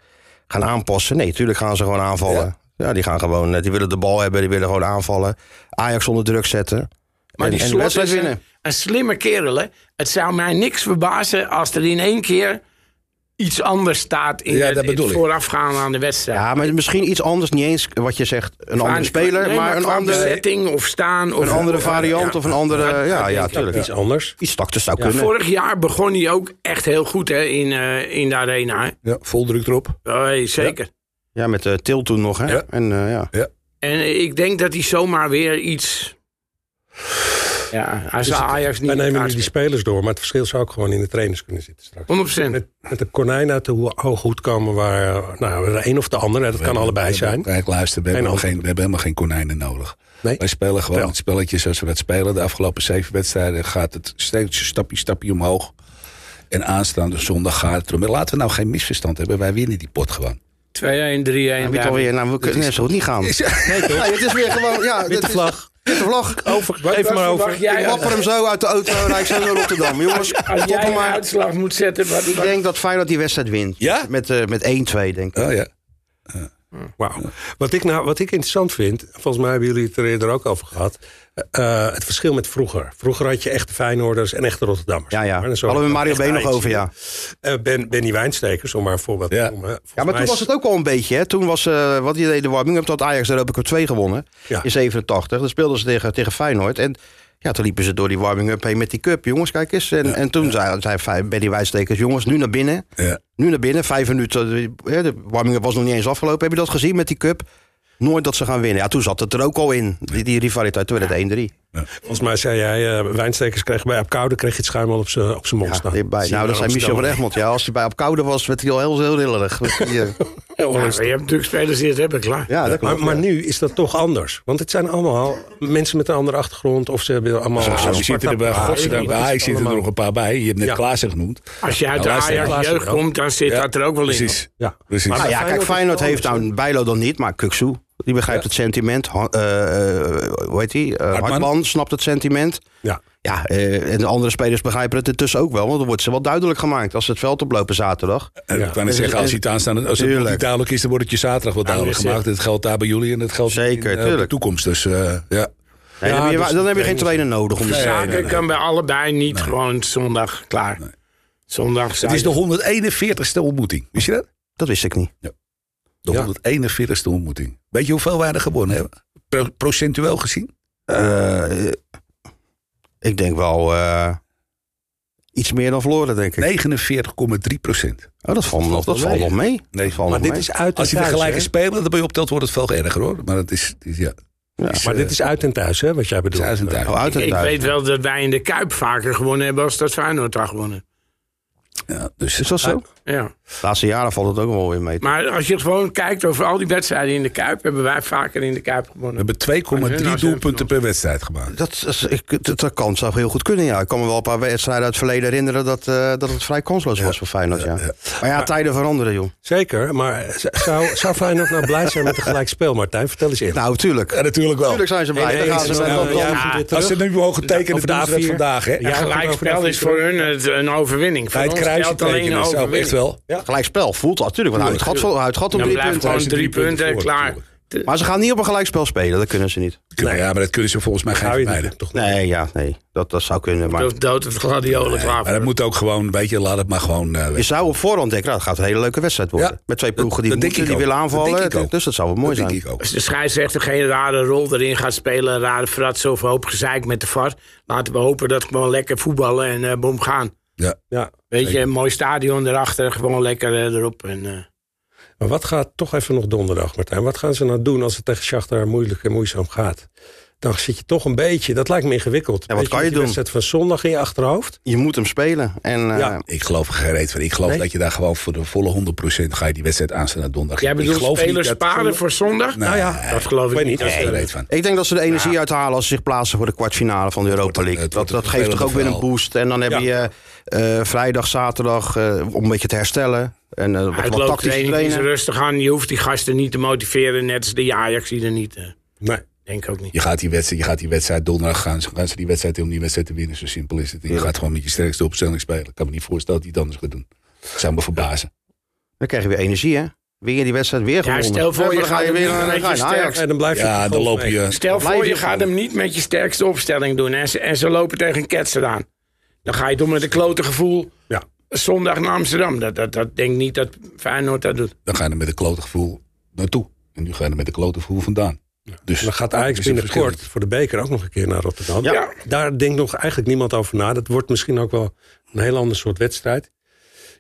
S2: gaan aanpassen. Nee, tuurlijk gaan ze gewoon aanvallen. Ja, die gaan gewoon, eh, die willen de bal hebben, die willen gewoon aanvallen. Ajax onder druk zetten.
S4: Maar
S2: en,
S4: die
S2: en de
S4: slot
S2: wedstrijd
S4: is een-
S2: winnen.
S4: Een slimme kerel, hè? Het zou mij niks verbazen als er in één keer iets anders staat in
S3: Ja,
S4: het,
S3: dat
S4: het
S3: bedoel ik.
S4: voorafgaan aan de wedstrijd.
S2: Ja, maar misschien iets anders, niet eens wat je zegt, een
S4: Qua-
S2: andere speler,
S4: nee,
S2: maar een
S4: qua
S2: andere,
S4: bezetting of staan. Of
S2: een andere variant
S4: Ja.
S2: of een andere. Ja, ja,
S1: dat
S2: tuurlijk.
S1: Iets anders.
S2: Iets tactisch zou kunnen.
S4: Vorig jaar begon hij ook echt heel goed hè, in, eh, in de arena. Hè?
S3: Ja, vol druk erop.
S4: Hey, zeker.
S2: Ja, met eh Til toen nog, hè?
S3: Ja.
S2: En eh, ja.
S4: En ik denk dat hij zomaar weer iets. Ja, hij zou Ajax niet.
S1: Wij nemen nu die
S4: aanspelen.
S1: spelers door, maar het verschil zou ook gewoon in de trainers kunnen zitten straks.
S4: 100%.
S1: Met, met een konijn uit de hoe hoe goed komen waar eh, nou, de een of de ander, hè, dat kan allebei zijn.
S3: Kijk, luister, we hebben,
S1: Geen
S3: geen, we hebben helemaal geen konijnen nodig.
S1: Nee?
S3: Wij spelen gewoon
S1: Wel.
S3: het spelletje zoals we dat spelen. De afgelopen zeven wedstrijden gaat het steeds stapje, stapje omhoog. En aanstaande zondag gaat het erom. Maar Laten we nou geen misverstand hebben. Wij winnen die pot gewoon.
S4: 2-1, 3-1.
S2: En
S4: ja.
S2: alweer, nou, we kunnen net zo goed niet gaan. Ja, het is weer gewoon, ja.
S1: Witte
S2: dit is-
S1: vlag.
S2: Witte vlag.
S1: Over, geef maar over.
S4: verwacht jij
S2: Ik
S4: als-
S2: wapper hem zo uit de auto en rijd ik zo naar Rotterdam. Jongens,
S4: Als
S2: stop
S4: jij
S2: hem
S4: een
S2: maar.
S4: uitslag moet zetten, wat,
S2: Ik
S4: wat-
S2: denk dat Feyenoord die wedstrijd wint.
S3: Ja?
S2: Met, eh, met 1-2, denk ik.
S3: Oh ja.
S1: Wauw. Wat ik, nou, wat ik interessant vind, volgens mij hebben jullie het er eerder ook over gehad. eh, het verschil met vroeger. Vroeger had je echte Feyenoorders en echte Rotterdammers.
S2: Ja, ja.
S1: Maar dan zo-
S2: Hadden we Mario
S1: echt
S2: B nog
S1: eitjes.
S2: over, ja.
S1: Eh, ben, Benny Wijnstekers, om maar een voorbeeld
S3: Ja.
S1: te noemen. Volgens
S2: Ja, maar
S1: mij
S2: toen
S1: is-
S2: was het ook al een beetje. Hè. Toen was, eh, wat die deed de warming-up, toen had Ajax de Europa Cup 2 gewonnen.
S1: Ja.
S2: In 87. Dan speelden ze tegen, tegen Feyenoord. En ja, toen liepen ze door die warming-up heen met die cup. Jongens, kijk eens. En, en toen zei, zei Fey- Benny Wijstekers, jongens, nu naar binnen.
S3: Ja.
S2: Nu naar binnen, vijf minuten. eh, De warming-up was nog niet eens afgelopen. Heb je dat gezien met die cup? Nooit dat ze gaan winnen. Ja, toen zat het er ook al in, die, die rivaliteit. Toen werd het 1-3.
S1: Volgens mij zei jij, eh Wijnstekers kreeg bij op koude kreeg je het schuim al op zijn op zijn mond
S2: Ja,
S1: staan.
S2: die bij- nou, dat zei Michel van Egmond. Ja, als hij bij op koude was, werd hij al heel, heel rillerig. Die, eh,
S4: Ja, maar je hebt natuurlijk spelers die het hebben, klaar.
S2: ja, dat klopt.
S1: Maar, maar
S2: ja.
S1: nu is dat toch anders. Want het zijn allemaal mensen met een andere achtergrond. Of ze hebben allemaal...
S3: Zo
S1: Sparta-
S3: zitten er bij
S1: Ah,
S3: godzijdank
S1: ik-
S3: bij Ajax zitten er nog een paar bij. Je hebt net
S1: Ja.
S3: Klaassen genoemd.
S4: Als je uit de
S3: Nou, luister,
S4: Ajax-jeugd
S1: luister wel.
S4: komt, dan zit
S3: Ja,
S4: dat er ook wel in.
S3: Precies.
S1: Ja.
S3: Precies.
S1: Maar
S2: Nou ja,
S1: Feyenoord
S2: kijk,
S1: is
S2: Feyenoord
S1: wel
S2: heeft nou Bijlo dan niet, maar Kuksu. Die begrijpt het sentiment. Ha- eh, eh, hoe heet die? Eh,
S3: Hartman.
S2: Hartman. snapt het sentiment.
S1: Ja.
S2: Ja, eh, en de andere spelers begrijpen het intussen ook wel. Want dan wordt ze wel duidelijk gemaakt als ze het veld oplopen zaterdag.
S3: En
S1: Ja.
S3: Ik kan niet zeggen, als het aanstaande, als het nog
S2: Tuurlijk.
S3: niet duidelijk is, dan wordt het je zaterdag wel duidelijk
S4: dat is het.
S3: gemaakt. Dat geldt daar bij jullie en dat geldt
S2: Zeker,
S3: in, eh, op de
S2: tuurlijk.
S3: toekomst. Dus eh, ja.
S2: Nee, dan, heb je,
S1: dus
S2: dan heb je geen
S1: trainers-
S2: trainer nodig. Om
S4: De
S2: te
S4: zaken kan bij allebei niet gewoon zondag klaar. Zondag
S3: Het
S4: zijn.
S3: is de 141ste ontmoeting. Wist je dat?
S2: Dat wist ik niet.
S3: De 141ste ontmoeting. Weet je hoeveel wij er gewonnen hebben? Pro- procentueel gezien?
S2: Eh, ik denk wel eh, iets meer dan verloren, denk ik.
S3: 49,3 procent.
S2: Oh, dat valt nog, dat valt nog mee.
S3: Nee,
S2: dat valt
S1: Maar
S2: nog
S1: dit
S2: mee.
S1: is uit en
S3: Als je de
S1: thuis,
S3: gelijke
S1: hè?
S3: spelen erbij optelt, wordt het veel erger hoor. Maar het is, het is eh, ja,
S1: Maar dit is uit en thuis, hè, wat jij
S3: het is
S1: bedoelt.
S3: uit en thuis.
S2: Oh, uit en
S4: Ik
S2: thuis.
S4: weet wel dat wij in de Kuip vaker gewonnen hebben als dat Feyenoord daar gewonnen.
S3: Ja, dus
S2: Is dat zo?
S4: Ja.
S2: De laatste jaren valt het ook wel weer mee.
S4: Maar als je gewoon kijkt over al die wedstrijden in de Kuip, hebben wij vaker in de Kuip
S3: we
S4: gewonnen.
S3: hebben 2,3 doelpunten per wedstrijd gemaakt.
S2: Dat, is- ik, dat, dat kan zou heel goed kunnen, ja. Ik kan me wel een paar wedstrijden uit het verleden herinneren dat, eh, dat het vrij kansloos was voor Feyenoord, ja. Maar ja, tijden veranderen, joh.
S1: Zeker, maar z- zou, zou Feyenoord nou blij zijn met een gelijk speel, Martijn? Vertel eens eerlijk.
S2: Nou, tuurlijk.
S3: Ja, natuurlijk wel.
S2: Tuurlijk zijn ze blij.
S1: Nee,
S2: Dan Nou, gaan
S1: nee,
S2: ze
S1: nee,
S2: met
S1: nee,
S2: dat
S1: nee,
S2: dan-
S1: ja.
S4: Ja,
S1: terug.
S3: Als ze nu mogen tekenen,
S1: Over
S3: dan
S1: de
S3: doen ze dat
S1: A4.
S3: vandaag. Hè?
S1: Ja,
S4: gelijk spel is voor hun het, een overwinning.
S3: Bij het
S4: ons geldt
S3: kruisje tekenen is ook echt gelijkspel.
S1: Ja.
S2: Gelijkspel voelt dat natuurlijk. Want hij houdt gat, houdt gat op
S4: Dan
S2: drie
S4: blijft
S2: punten.
S4: gewoon
S3: Hij is
S4: drie
S3: drie punten
S4: punten,
S3: voor,
S4: klaar.
S3: natuurlijk.
S2: Maar ze gaan niet op een gelijkspel spelen. Dat kunnen ze niet.
S3: Nou ja, maar dat kunnen ze volgens mij geen
S1: Hou je
S3: vermijden.
S1: er toch niet?
S2: Nee, ja, nee. Dat, dat zou kunnen. Maar
S4: Of dood of gladiolen klaar.
S3: Maar dat
S4: voor.
S3: moet ook gewoon, weet je, laat het maar gewoon. eh,
S2: je zou op voorhand denken, nou, dat gaat een hele leuke wedstrijd worden.
S3: Ja,
S2: Met twee ploegen die,
S3: dat denk
S2: moeten,
S3: ik
S2: die
S3: ook.
S2: willen
S3: Dat denk
S2: aanvallen.
S3: ik ook.
S2: dus dat zou wel mooi
S3: dat
S2: zijn.
S3: denk ik ook.
S4: Als de scheidsrechter geen rare rol erin gaat spelen, een rare fratsen of een hoop gezeik met de VAR, laten we hopen dat we gewoon lekker voetballen en eh boom gaan.
S3: Ja.
S1: Ja.
S4: Weet je, een mooi stadion erachter, gewoon lekker eh, erop. En, eh,
S1: Maar wat gaat toch even nog donderdag, Martijn? Wat gaan ze nou doen als het tegen Shakhtar moeilijk en moeizaam gaat? Dan zit je toch een beetje, dat lijkt me ingewikkeld.
S2: Ja, wat
S1: Beetje
S2: kan je
S1: met die
S2: doen?
S1: wedstrijd van zondag in je achterhoofd.
S2: Je moet hem spelen. En eh,
S1: Ja.
S3: Ik geloof er geen reet van. Ik geloof
S1: Nee?
S3: dat je daar gewoon voor de volle 100% ga je die wedstrijd aanstaan naar donderdag.
S4: jij
S3: ik
S4: bedoelt
S3: geloof
S4: spelers
S3: niet dat-
S4: sparen voor zondag?
S3: Nee,
S4: nou ja, dat geloof ik
S1: weet
S4: niet.
S1: niet.
S3: Geen reet van.
S2: ik denk dat ze de energie uithalen als ze zich plaatsen voor de kwartfinale van de Europa
S3: wordt-
S2: League.
S3: het
S2: dat
S3: wordt
S2: dat
S3: een
S2: geeft toch ook weer een
S3: vervelend
S2: boost. En dan heb
S1: Ja.
S2: je eh, eh, vrijdag, zaterdag eh, om een beetje te herstellen. En eh, wat- wat tactisch
S4: Uitlooptraining is
S2: trainen.
S4: rustig aan. Je hoeft die gasten niet te motiveren, net als de Ajax die er niet. eh,
S1: Nee.
S4: denk ik ook niet.
S3: Je gaat, die wedstrijd, je gaat die wedstrijd donderdag gaan. ze- Gaan ze die wedstrijd om die wedstrijd te winnen? Zo simpel is het. En je gaat gewoon met je sterkste opstelling spelen. Ik kan me niet voorstellen dat die het anders gaat doen. Dat zou me verbazen.
S2: Dan krijg je weer energie, hè? Weer die wedstrijd, weer
S4: Ja,
S2: gewonnen.
S4: stel voor,
S2: Oh,
S4: we
S2: dan
S4: gaan
S2: ga je
S4: er
S2: weer
S4: niet
S2: aan dan
S4: een
S2: ga je
S4: beetje
S2: naar Nou, Ajax.
S1: En dan blijf je
S3: Ja,
S1: toch
S3: dan loop
S1: mee.
S3: je.
S4: Stel
S2: Blijf
S4: voor, je
S2: je
S4: gaat
S2: gewoon.
S4: hem niet met je sterkste opstelling doen. En ze, en ze lopen tegen een ketser aan. Dan ga je door met een klote gevoel
S1: Ja.
S4: zondag naar Amsterdam. Dat, dat, dat denk ik niet dat Feyenoord dat doet.
S3: Dan ga je er met een klote gevoel naartoe. En nu ga je er met een klote gevoel vandaan. Dus
S1: Dan gaat
S3: dat
S1: Ajax
S3: is een
S1: binnenkort
S3: verschil.
S1: voor de beker ook nog een keer naar Rotterdam.
S2: Ja.
S4: Ja.
S1: Daar denkt nog eigenlijk niemand over na. Dat wordt misschien ook wel een heel ander soort wedstrijd.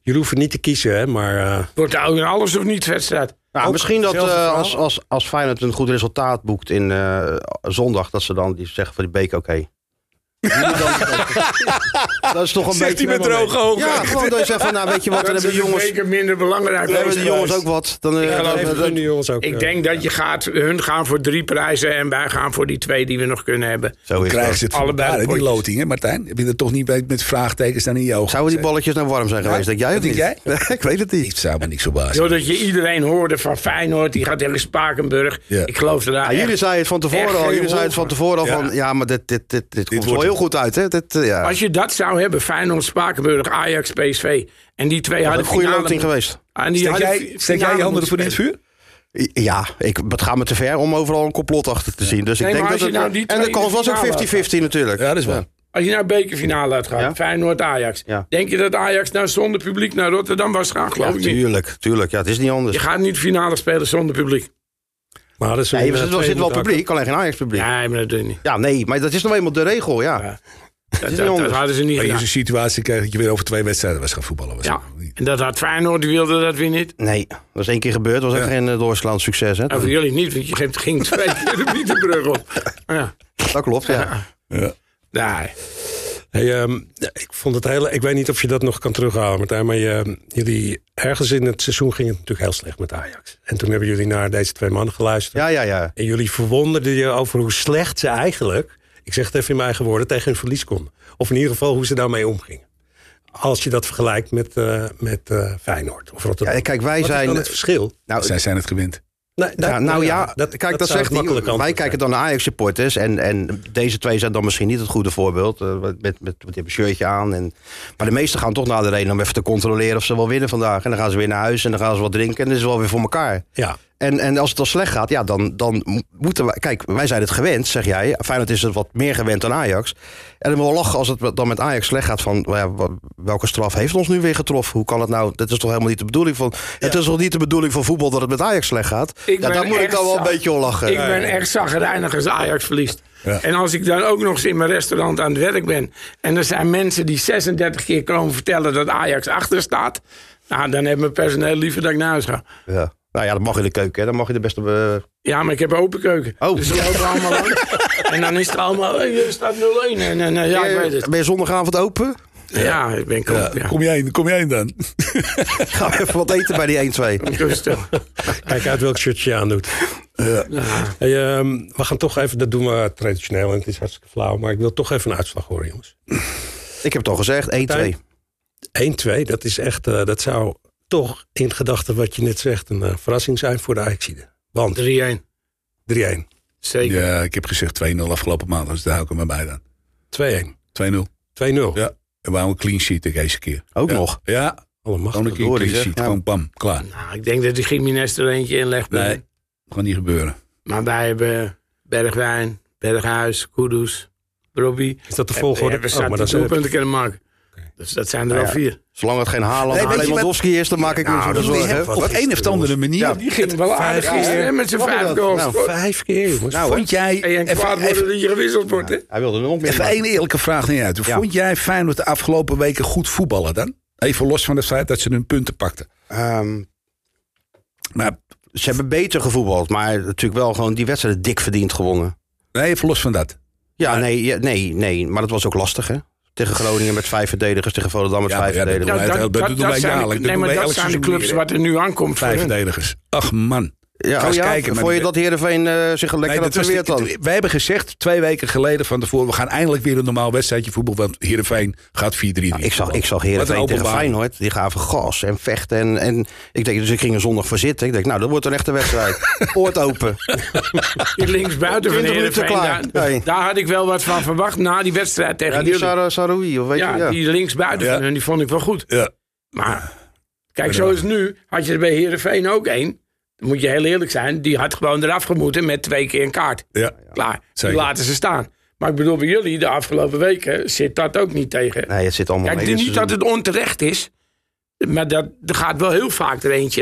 S1: Jullie hoeven niet te kiezen, hè, maar... eh,
S4: Wordt er ook een alles of niets wedstrijd.
S2: Nou,
S1: Ook
S2: misschien dat
S1: hetzelfde
S2: eh,
S1: verhaal.
S2: als, als, als Feyenoord een goed resultaat boekt in eh, zondag, dat ze dan die zeggen van die beker, oké. dat is toch een
S3: Zegt
S2: beetje...
S3: hij met droge ogen.
S2: Ja, gewoon dat je zegt van, nou weet je wat, dan
S4: Dat
S2: hebben
S4: is
S2: de jongens,
S4: zeker minder belangrijk.
S2: dan hebben de jongens ook wat. Dan, eh,
S1: ja,
S2: dan-
S1: dat
S2: dan-
S1: hebben
S2: dan-
S1: hun jongens ook.
S4: Ik
S1: eh,
S4: denk dat je gaat, hun gaan voor drie prijzen en wij gaan voor die twee die we nog kunnen hebben.
S2: zo is
S3: krijgen
S2: het.
S3: ze het voor
S4: Allebei
S3: elkaar, hè, die
S4: potjes.
S3: loting, hè Martijn? Heb je er toch niet bij- met vraagtekens dan in je ogen
S2: Zouden die
S3: gezet?
S2: balletjes nou warm zijn geweest, denk jij of
S3: Denk
S2: niet?
S3: jij?
S2: Nee, ik weet het niet.
S3: Ik zou me niks verbazen.
S4: Zodat je iedereen hoorde van Feyenoord, die gaat tegen Spakenburg.
S3: Ja.
S4: Ik geloof er daar
S2: Ja, Ah, jullie
S4: echt-
S2: zeiden het van
S4: echt
S2: tevoren al,
S4: geen
S2: jullie zeiden
S4: hol
S2: het van tevoren al
S3: Ja.
S2: van, ja, maar dit, dit, dit, dit komt
S3: wordt
S2: wel heel goed uit, hè? Dit, eh, ja.
S4: Als je dat zou hebben, Feyenoord, Spakenburg, Ajax, PSV. En die twee
S2: Een
S4: hadden
S2: goede
S4: finale- Ah,
S2: loting geweest.
S4: En die
S3: Steek
S4: hadden
S3: jij,
S4: fi-
S3: steek
S4: finale
S3: jij je handen
S4: moeten
S3: ervoor in het
S4: spelen.
S3: vuur?
S2: Ja, ik, het gaat me te ver om overal een complot achter te zien. Dus
S4: Nee,
S2: ik denk
S4: maar
S2: dat
S4: als
S2: het,
S4: je nou die
S2: en de
S4: twee
S2: kans was ook
S4: finale
S2: 50-50 natuurlijk.
S3: Ja, dat is waar.
S4: Als je naar bekerfinale had gehad,
S2: Ja.
S4: Feyenoord-Ajax.
S2: Ja.
S4: Denk je dat Ajax nou zonder publiek naar Rotterdam was gegaan? Geloof ik niet.
S2: tuurlijk, tuurlijk. Ja, het is niet anders.
S4: Je gaat niet de finale spelen zonder publiek.
S1: Maar dat is een,
S2: nee, er
S1: eh,
S2: zit wel, zit wel
S1: tweede
S2: publiek, alleen geen Ajax-publiek. Ja.
S4: Nee, maar dat doe je niet.
S2: nee, maar dat is nou eenmaal de regel, ja.
S4: Ja.
S2: is
S4: Dat,
S2: niet
S4: dat- dat
S2: anders.
S4: hadden ze niet
S3: Maar je
S4: gedaan.
S3: zo'n situatie krijgt dat je weer over twee wedstrijden was gaan voetballen. Was
S4: Ja.
S3: het niet.
S4: En dat had Feyenoord, die wilde dat weer niet.
S2: Nee, dat is één keer gebeurd. Dat was echt
S3: Ja.
S2: geen eh, doorslaand succes, hè.
S4: En voor jullie niet, want je geeft- ging twee keer de Bietenbrug op. Ja.
S2: Dat klopt, ja.
S3: Ja.
S4: Nee.
S1: Hey, ehm, ik vond het heel. Ik weet niet of je dat nog kan terughalen, Martijn. Maar je, jullie, ergens in het seizoen ging het natuurlijk heel slecht met Ajax. En toen hebben jullie naar deze twee mannen geluisterd.
S2: Ja, ja, ja.
S1: En jullie verwonderden je over hoe slecht ze eigenlijk, ik zeg het even in mijn eigen woorden, tegen hun verlies konden. Of in ieder geval hoe ze daarmee omgingen. Als je dat vergelijkt met, eh, met eh, Feyenoord of Rotterdam.
S2: Ja, kijk, wij
S1: Wat is
S2: zijn...
S1: dan het verschil?
S2: Nou,
S3: Zij zijn het gewend.
S1: Nee, dat-
S2: ja, nou ja, kijk, dat,
S1: zou
S2: zegt
S1: het
S2: niet.
S1: makkelijke
S2: Wij
S1: antwoord
S2: kijken
S1: zijn.
S2: dan naar Ajax-supporters. En, en deze twee zijn dan misschien niet het goede voorbeeld. eh, met, met, met, die hebben een shirtje aan. En, maar de meesten gaan toch naar de reden om even te controleren of ze wel winnen vandaag. En dan gaan ze weer naar huis en dan gaan ze wat drinken. En dan is het wel weer voor elkaar.
S1: Ja,
S2: En, en als het dan slecht gaat, ja, dan, dan mo- moeten we... Kijk, wij zijn het gewend, zeg jij. Feyenoord is het wat meer gewend dan Ajax. En dan moet wel lachen als het dan met Ajax slecht gaat... van nou ja, wa- welke straf heeft ons nu weer getroffen? Hoe kan het nou? Dat is toch helemaal niet de bedoeling van... Het is toch niet de bedoeling van voetbal dat het met Ajax slecht gaat?
S4: Ik
S2: ja,
S4: ben
S2: daar moet ik
S4: echt
S2: dan wel een
S4: zat.
S2: beetje om lachen.
S4: Ik ben echt zagrijnig als Ajax verliest.
S3: Ja.
S4: En als ik dan ook nog eens in mijn restaurant aan het werk ben... en er zijn mensen die 36 keer komen vertellen dat Ajax achter staat... Nou, dan heeft mijn personeel liever dat ik naar huis ga.
S2: Ja. Nou ja, dat mag in de keuken. Hè. Dan mag je de beste... eh,
S4: Ja, maar ik heb open keuken.
S2: Oh.
S4: Dus we lopen allemaal langs. En dan is het allemaal... hey, er staat 0-1. En, en, eh, ja, ik weet het.
S2: ben je zondagavond open?
S4: Ja, ik ben koop. Ja.
S3: Kom jij in, kom jij in dan?
S2: Ga even wat eten bij die 1-2.
S4: Rustig.
S1: Kijk uit welk shirt je aandoet. Hey, ehm, we gaan toch even, dat doen we traditioneel en het is hartstikke flauw, maar ik wil toch even een uitslag horen, jongens.
S2: Ik heb het al gezegd, 1-2.
S1: 1-2, dat is echt, eh, dat zou toch in gedachten wat je net zegt een eh, verrassing zijn voor de Ajaxide. Want
S4: 3-1.
S1: 3-1, 2-1.
S4: Zeker.
S3: Ja, ik heb gezegd 2-0 afgelopen maand. Dus daar hou ik hem maar bij dan. 2-0.
S1: 2-0.
S3: Ja. En waarom een clean sheet ook deze keer?
S2: Ook
S3: Ja.
S2: nog.
S3: Ja.
S1: Alle macht.
S3: Gewoon een keer
S2: hoor ik,
S3: clean
S2: hè.
S3: sheet.
S2: Nou.
S3: Gewoon bam, klaar.
S4: Nou, ik denk dat die Gimenez er eentje in legt.
S3: Nee, kan niet gebeuren.
S4: Maar wij hebben Bergwijn, Berghuis, Kudus, Robbie.
S1: Is dat de
S4: We
S1: volgorde?
S4: hebben
S1: Oh, maar dat
S4: staat
S1: zijn
S4: doelpunten kunnen maken. Dus dat zijn er al vier.
S2: Zolang het geen Haaland
S3: Nee,
S2: en
S3: weet je
S2: Lewandowski is, dan maak ik me
S4: nou,
S3: dat
S2: zo
S3: is-
S2: zorgen.
S3: op een of andere manier.
S2: Ja.
S4: Die ging wel aardig
S1: keer.
S4: gisteren hè, met zijn
S2: Wat is
S4: vijf
S2: dat?
S4: goals.
S2: Nou,
S1: vijf keer, jongens.
S2: Nou,
S3: Vond jij,
S4: en je
S3: even,
S4: en kwaad
S3: even,
S4: worden dat je gewisseld wordt, hè?
S2: Hij wilde er nog meer.
S3: even
S2: maken.
S3: één eerlijke vraag naar je uit. Vond jij Feyenoord de afgelopen weken goed voetballen dan? Even los van het feit dat ze hun punten pakten.
S2: Ehm,
S3: Maar
S2: ze hebben beter gevoetbald, maar natuurlijk wel gewoon die wedstrijd dik verdiend gewonnen.
S3: nee, even los van dat.
S2: Ja, nee, ja, nee, nee, maar dat was ook lastig, hè? Tegen Groningen met vijf verdedigers, tegen Volendam met
S3: Ja,
S2: vijf
S3: maar ja, dat-
S4: Nou,
S2: verdedigers.
S3: dat- dat doen wij
S4: zijn de-
S3: jaarlijks. Dat
S4: Nee,
S3: doen
S4: maar
S3: wij
S4: dat
S3: elk
S4: zijn de
S3: seizoen
S4: clubs
S3: weer,
S4: wat er nu aankomt voor
S3: Vijf
S4: hun.
S3: verdedigers. Ach man.
S2: Ja,
S3: nou, Ga eens
S2: ja,
S3: kijken, maar
S2: vond je
S3: die-
S2: dat Heerenveen eh zich lekker
S3: Nee,
S2: had
S3: dat was
S2: verweerd
S3: de-
S2: dan?
S3: wij hebben gezegd twee weken geleden van tevoren... we gaan eindelijk weer een normaal wedstrijdje voetbal... want Heerenveen gaat 4-3.
S2: Ah, Ik zag, ik zag
S3: Wat
S2: Heerenveen
S3: een
S2: tegen
S3: openbaar.
S2: Feyenoord, die gaven gas en vechten. En, en ik denk, dus ik ging er zondag voor zitten. Ik denk, nou, dat wordt een echte wedstrijd. Oort open.
S4: Die linksbuiten
S2: 20
S4: van
S2: minuten
S4: Heerenveen, daar,
S2: klaar. Nee.
S4: daar had ik wel wat van verwacht na die wedstrijd tegen
S2: Ja, die
S4: jullie.
S2: Sar- Saroui, of weet
S4: ja,
S2: je. Ja.
S4: die linksbuiten
S3: Ja.
S4: van hun, die vond ik wel goed.
S3: Ja.
S4: Maar kijk, zoals nu, had je er bij Heerenveen ook één. Dan moet je heel eerlijk zijn, die had gewoon eraf gemoeten met twee keer een kaart.
S3: Ja.
S4: Klaar,
S3: Zeker.
S4: die laten ze staan. Maar ik bedoel, bij jullie de afgelopen weken zit dat ook niet tegen.
S2: Nee, het zit allemaal
S4: Kijk,
S2: mee
S4: het is
S2: dit
S4: niet dat
S2: seizoen.
S4: het onterecht is, maar dat, er gaat wel heel vaak er eentje,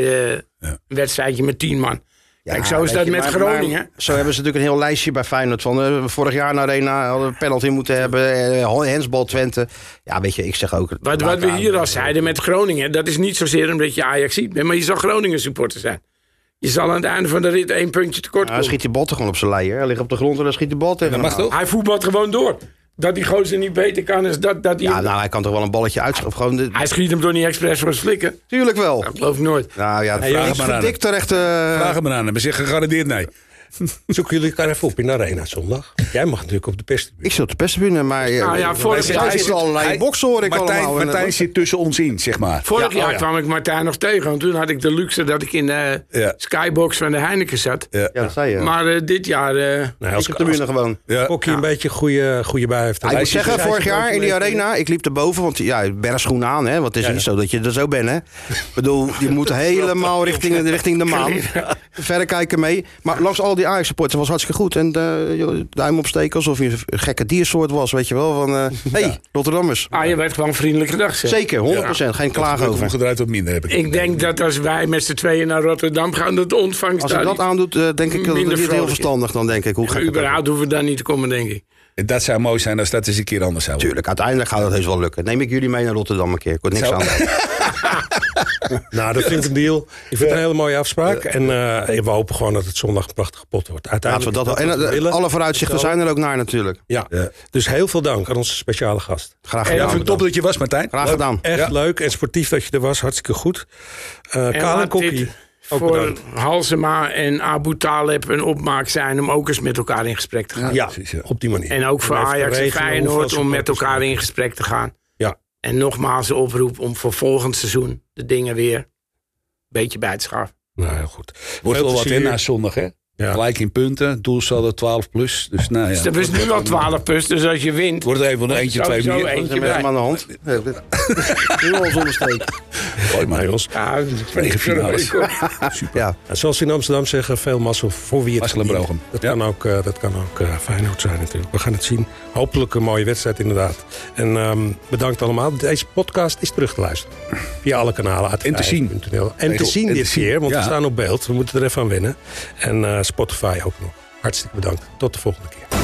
S3: Ja.
S4: eh, een wedstrijdje met tien man. Kijk, zo is
S2: weet
S4: dat
S2: je,
S4: met
S2: maar-
S4: Groningen.
S2: maar zo hebben ze natuurlijk een heel lijstje bij Feyenoord. Van, eh, vorig jaar naar Arena hadden we een penalty moeten hebben. eh, Hensbal Twente. Ja, weet je, ik zeg ook...
S4: Wat, wat we hier al zeiden met Groningen, dat is niet zozeer omdat je Ajax ziet bent, maar je zal Groningen supporter zijn. Je zal aan het einde van de rit één puntje tekort
S2: eh, Hij
S4: komen.
S2: schiet die bal toch gewoon op zijn leier. Hij ligt op de grond en dan schiet die bal tegen
S3: Dat mag
S2: hem aan.
S3: toch?
S4: Hij voetbalt gewoon door. Dat die gozer niet beter kan is dat, dat hij...
S2: Ja, nou, hij kan toch wel een balletje uitschieten. Of gewoon... de-
S4: Hij schiet hem door niet expres voor het flikken.
S2: Tuurlijk wel.
S4: Dat geloof ik nooit.
S2: Nou ja,
S3: vraag
S2: niks
S3: het maar aan
S2: verdikt terecht. eh,
S3: Vraag hem maar aan hem. Hij zegt gegarandeerd nee.
S1: Zoeken jullie elkaar even op in de arena zondag. Jij mag natuurlijk op de perstribune.
S2: ik zit op de perstribune, maar... eh,
S4: Nou ja, vorig
S2: hij
S4: jaar,
S2: zit al allerlei
S3: Hij-
S2: boksen, hoor ik
S3: Martijn,
S2: allemaal. En-
S3: Martijn zit tussen ons in, zeg maar.
S4: vorig
S2: Ja, oh
S4: jaar
S2: ja.
S4: kwam ik Martijn nog tegen. Want toen had ik de luxe dat ik in de
S3: Ja.
S4: skybox van de Heineken zat.
S2: Ja, dat zei je. Maar
S4: Maar eh, dit jaar... eh,
S1: Nou,
S2: op de tribune gewoon.
S3: Ja.
S1: Kokkie een beetje goede, goede bij heeft.
S2: ik
S1: Hij
S2: moet
S1: is-
S2: zeggen,
S1: hij is-
S2: vorig
S1: hij is-
S2: jaar in die arena, ik liep erboven, want ja, bergschoen aan, hè, want het is niet zo dat je er zo bent, hè. Ik bedoel, je moet helemaal richting, richting de maan. Verder kijken mee. Maar langs al die Ajax-supporters was hartstikke goed. En eh, joh, duim opsteken alsof je een gekke diersoort was, weet je wel. Van, eh, hey, Rotterdammers.
S4: ah, je werd gewoon vriendelijk gedacht. zeg.
S2: Zeker, 100%, geen klagen
S3: Ook
S2: over.
S3: omgedraaid wat minder heb ik.
S4: Ik denk dat als wij met z'n tweeën naar Rotterdam gaan, dat de ontvangst
S2: Als ik
S4: daar
S2: dat aandoet, eh, denk ik dat het
S4: Minder
S2: niet heel
S4: vrolijk.
S2: verstandig dan denk ik. Hoe ga
S4: niet-
S2: ik dat
S4: Überhaupt hoeven we daar niet te komen, denk ik.
S3: Dat zou mooi zijn als dat eens een keer anders zou worden.
S2: Tuurlijk, uiteindelijk gaat dat heus wel lukken. Neem ik jullie mee naar Rotterdam een keer. Ik word niks aan.
S1: Nou, dat vind ik een deal. Ik vind het een hele mooie afspraak. En eh, we hopen gewoon dat het zondag een prachtige pot wordt.
S2: Laten we
S1: Uiteindelijk
S2: dat wel. En
S1: wat we
S2: eh,
S1: willen.
S2: alle vooruitzichten zijn er ook naar natuurlijk.
S1: Ja. Dus heel veel dank aan onze speciale gast.
S2: Graag
S3: Ja,
S4: En
S2: gedaan.
S3: vind top
S2: bedankt.
S3: dat je was, Martijn.
S2: Graag gedaan.
S1: Echt leuk en sportief dat je er was. Hartstikke goed. Eh
S4: En
S1: Kale
S4: laat
S1: Kokkie.
S4: dit
S1: ook
S4: voor
S1: bedankt.
S4: Halsema en Abu Taleb een opmaak zijn om ook eens met elkaar in gesprek te gaan.
S1: Ja,
S3: precies, ja.
S1: op die manier.
S4: En ook voor
S1: En even
S4: Ajax en
S1: regelen hoeveel
S4: Feyenoord om met
S1: supporters-
S4: elkaar in gesprek te gaan.
S1: Ja.
S4: En nogmaals de oproep om voor volgend seizoen de dingen weer een beetje bij te schaffen.
S1: Nou, heel goed.
S3: Wordt
S1: Veel
S3: wel wat
S1: plezier.
S3: in na zondag, hè?
S1: Ja.
S3: Gelijk in punten. Doelsaldo 12 plus. Dus nou ja.
S4: Dus er is nu al 12 plus, dus als je wint,
S3: Wordt er even een eentje, twee
S4: sowieso
S3: meer.
S2: Wat is
S4: eentje
S2: er met hem
S4: bij.
S2: aan de hand? Nu al zonder steek.
S3: Gooi maar, Jos.
S4: Ja,
S3: Tegen finales.
S2: Ja.
S1: En Zoals ze in Amsterdam zeggen, veel mazzel voor wie het
S3: Mazzel en
S1: verdient.
S3: Brogem.
S1: Dat
S3: Ja.
S1: kan ook, eh, dat kan ook eh, Feyenoord zijn natuurlijk. We gaan het zien. Hopelijk een mooie wedstrijd inderdaad. En ehm, bedankt allemaal. Deze podcast is terug te luisteren. Via alle kanalen. uit
S3: En te zien.
S1: vrijheid.nl. En te
S3: Regel.
S1: zien
S3: En te
S1: dit
S3: zien.
S1: keer, want
S3: Ja.
S1: we staan op beeld. We moeten er even aan wennen. En eh, Spotify ook nog. Hartstikke bedankt. Tot de volgende keer.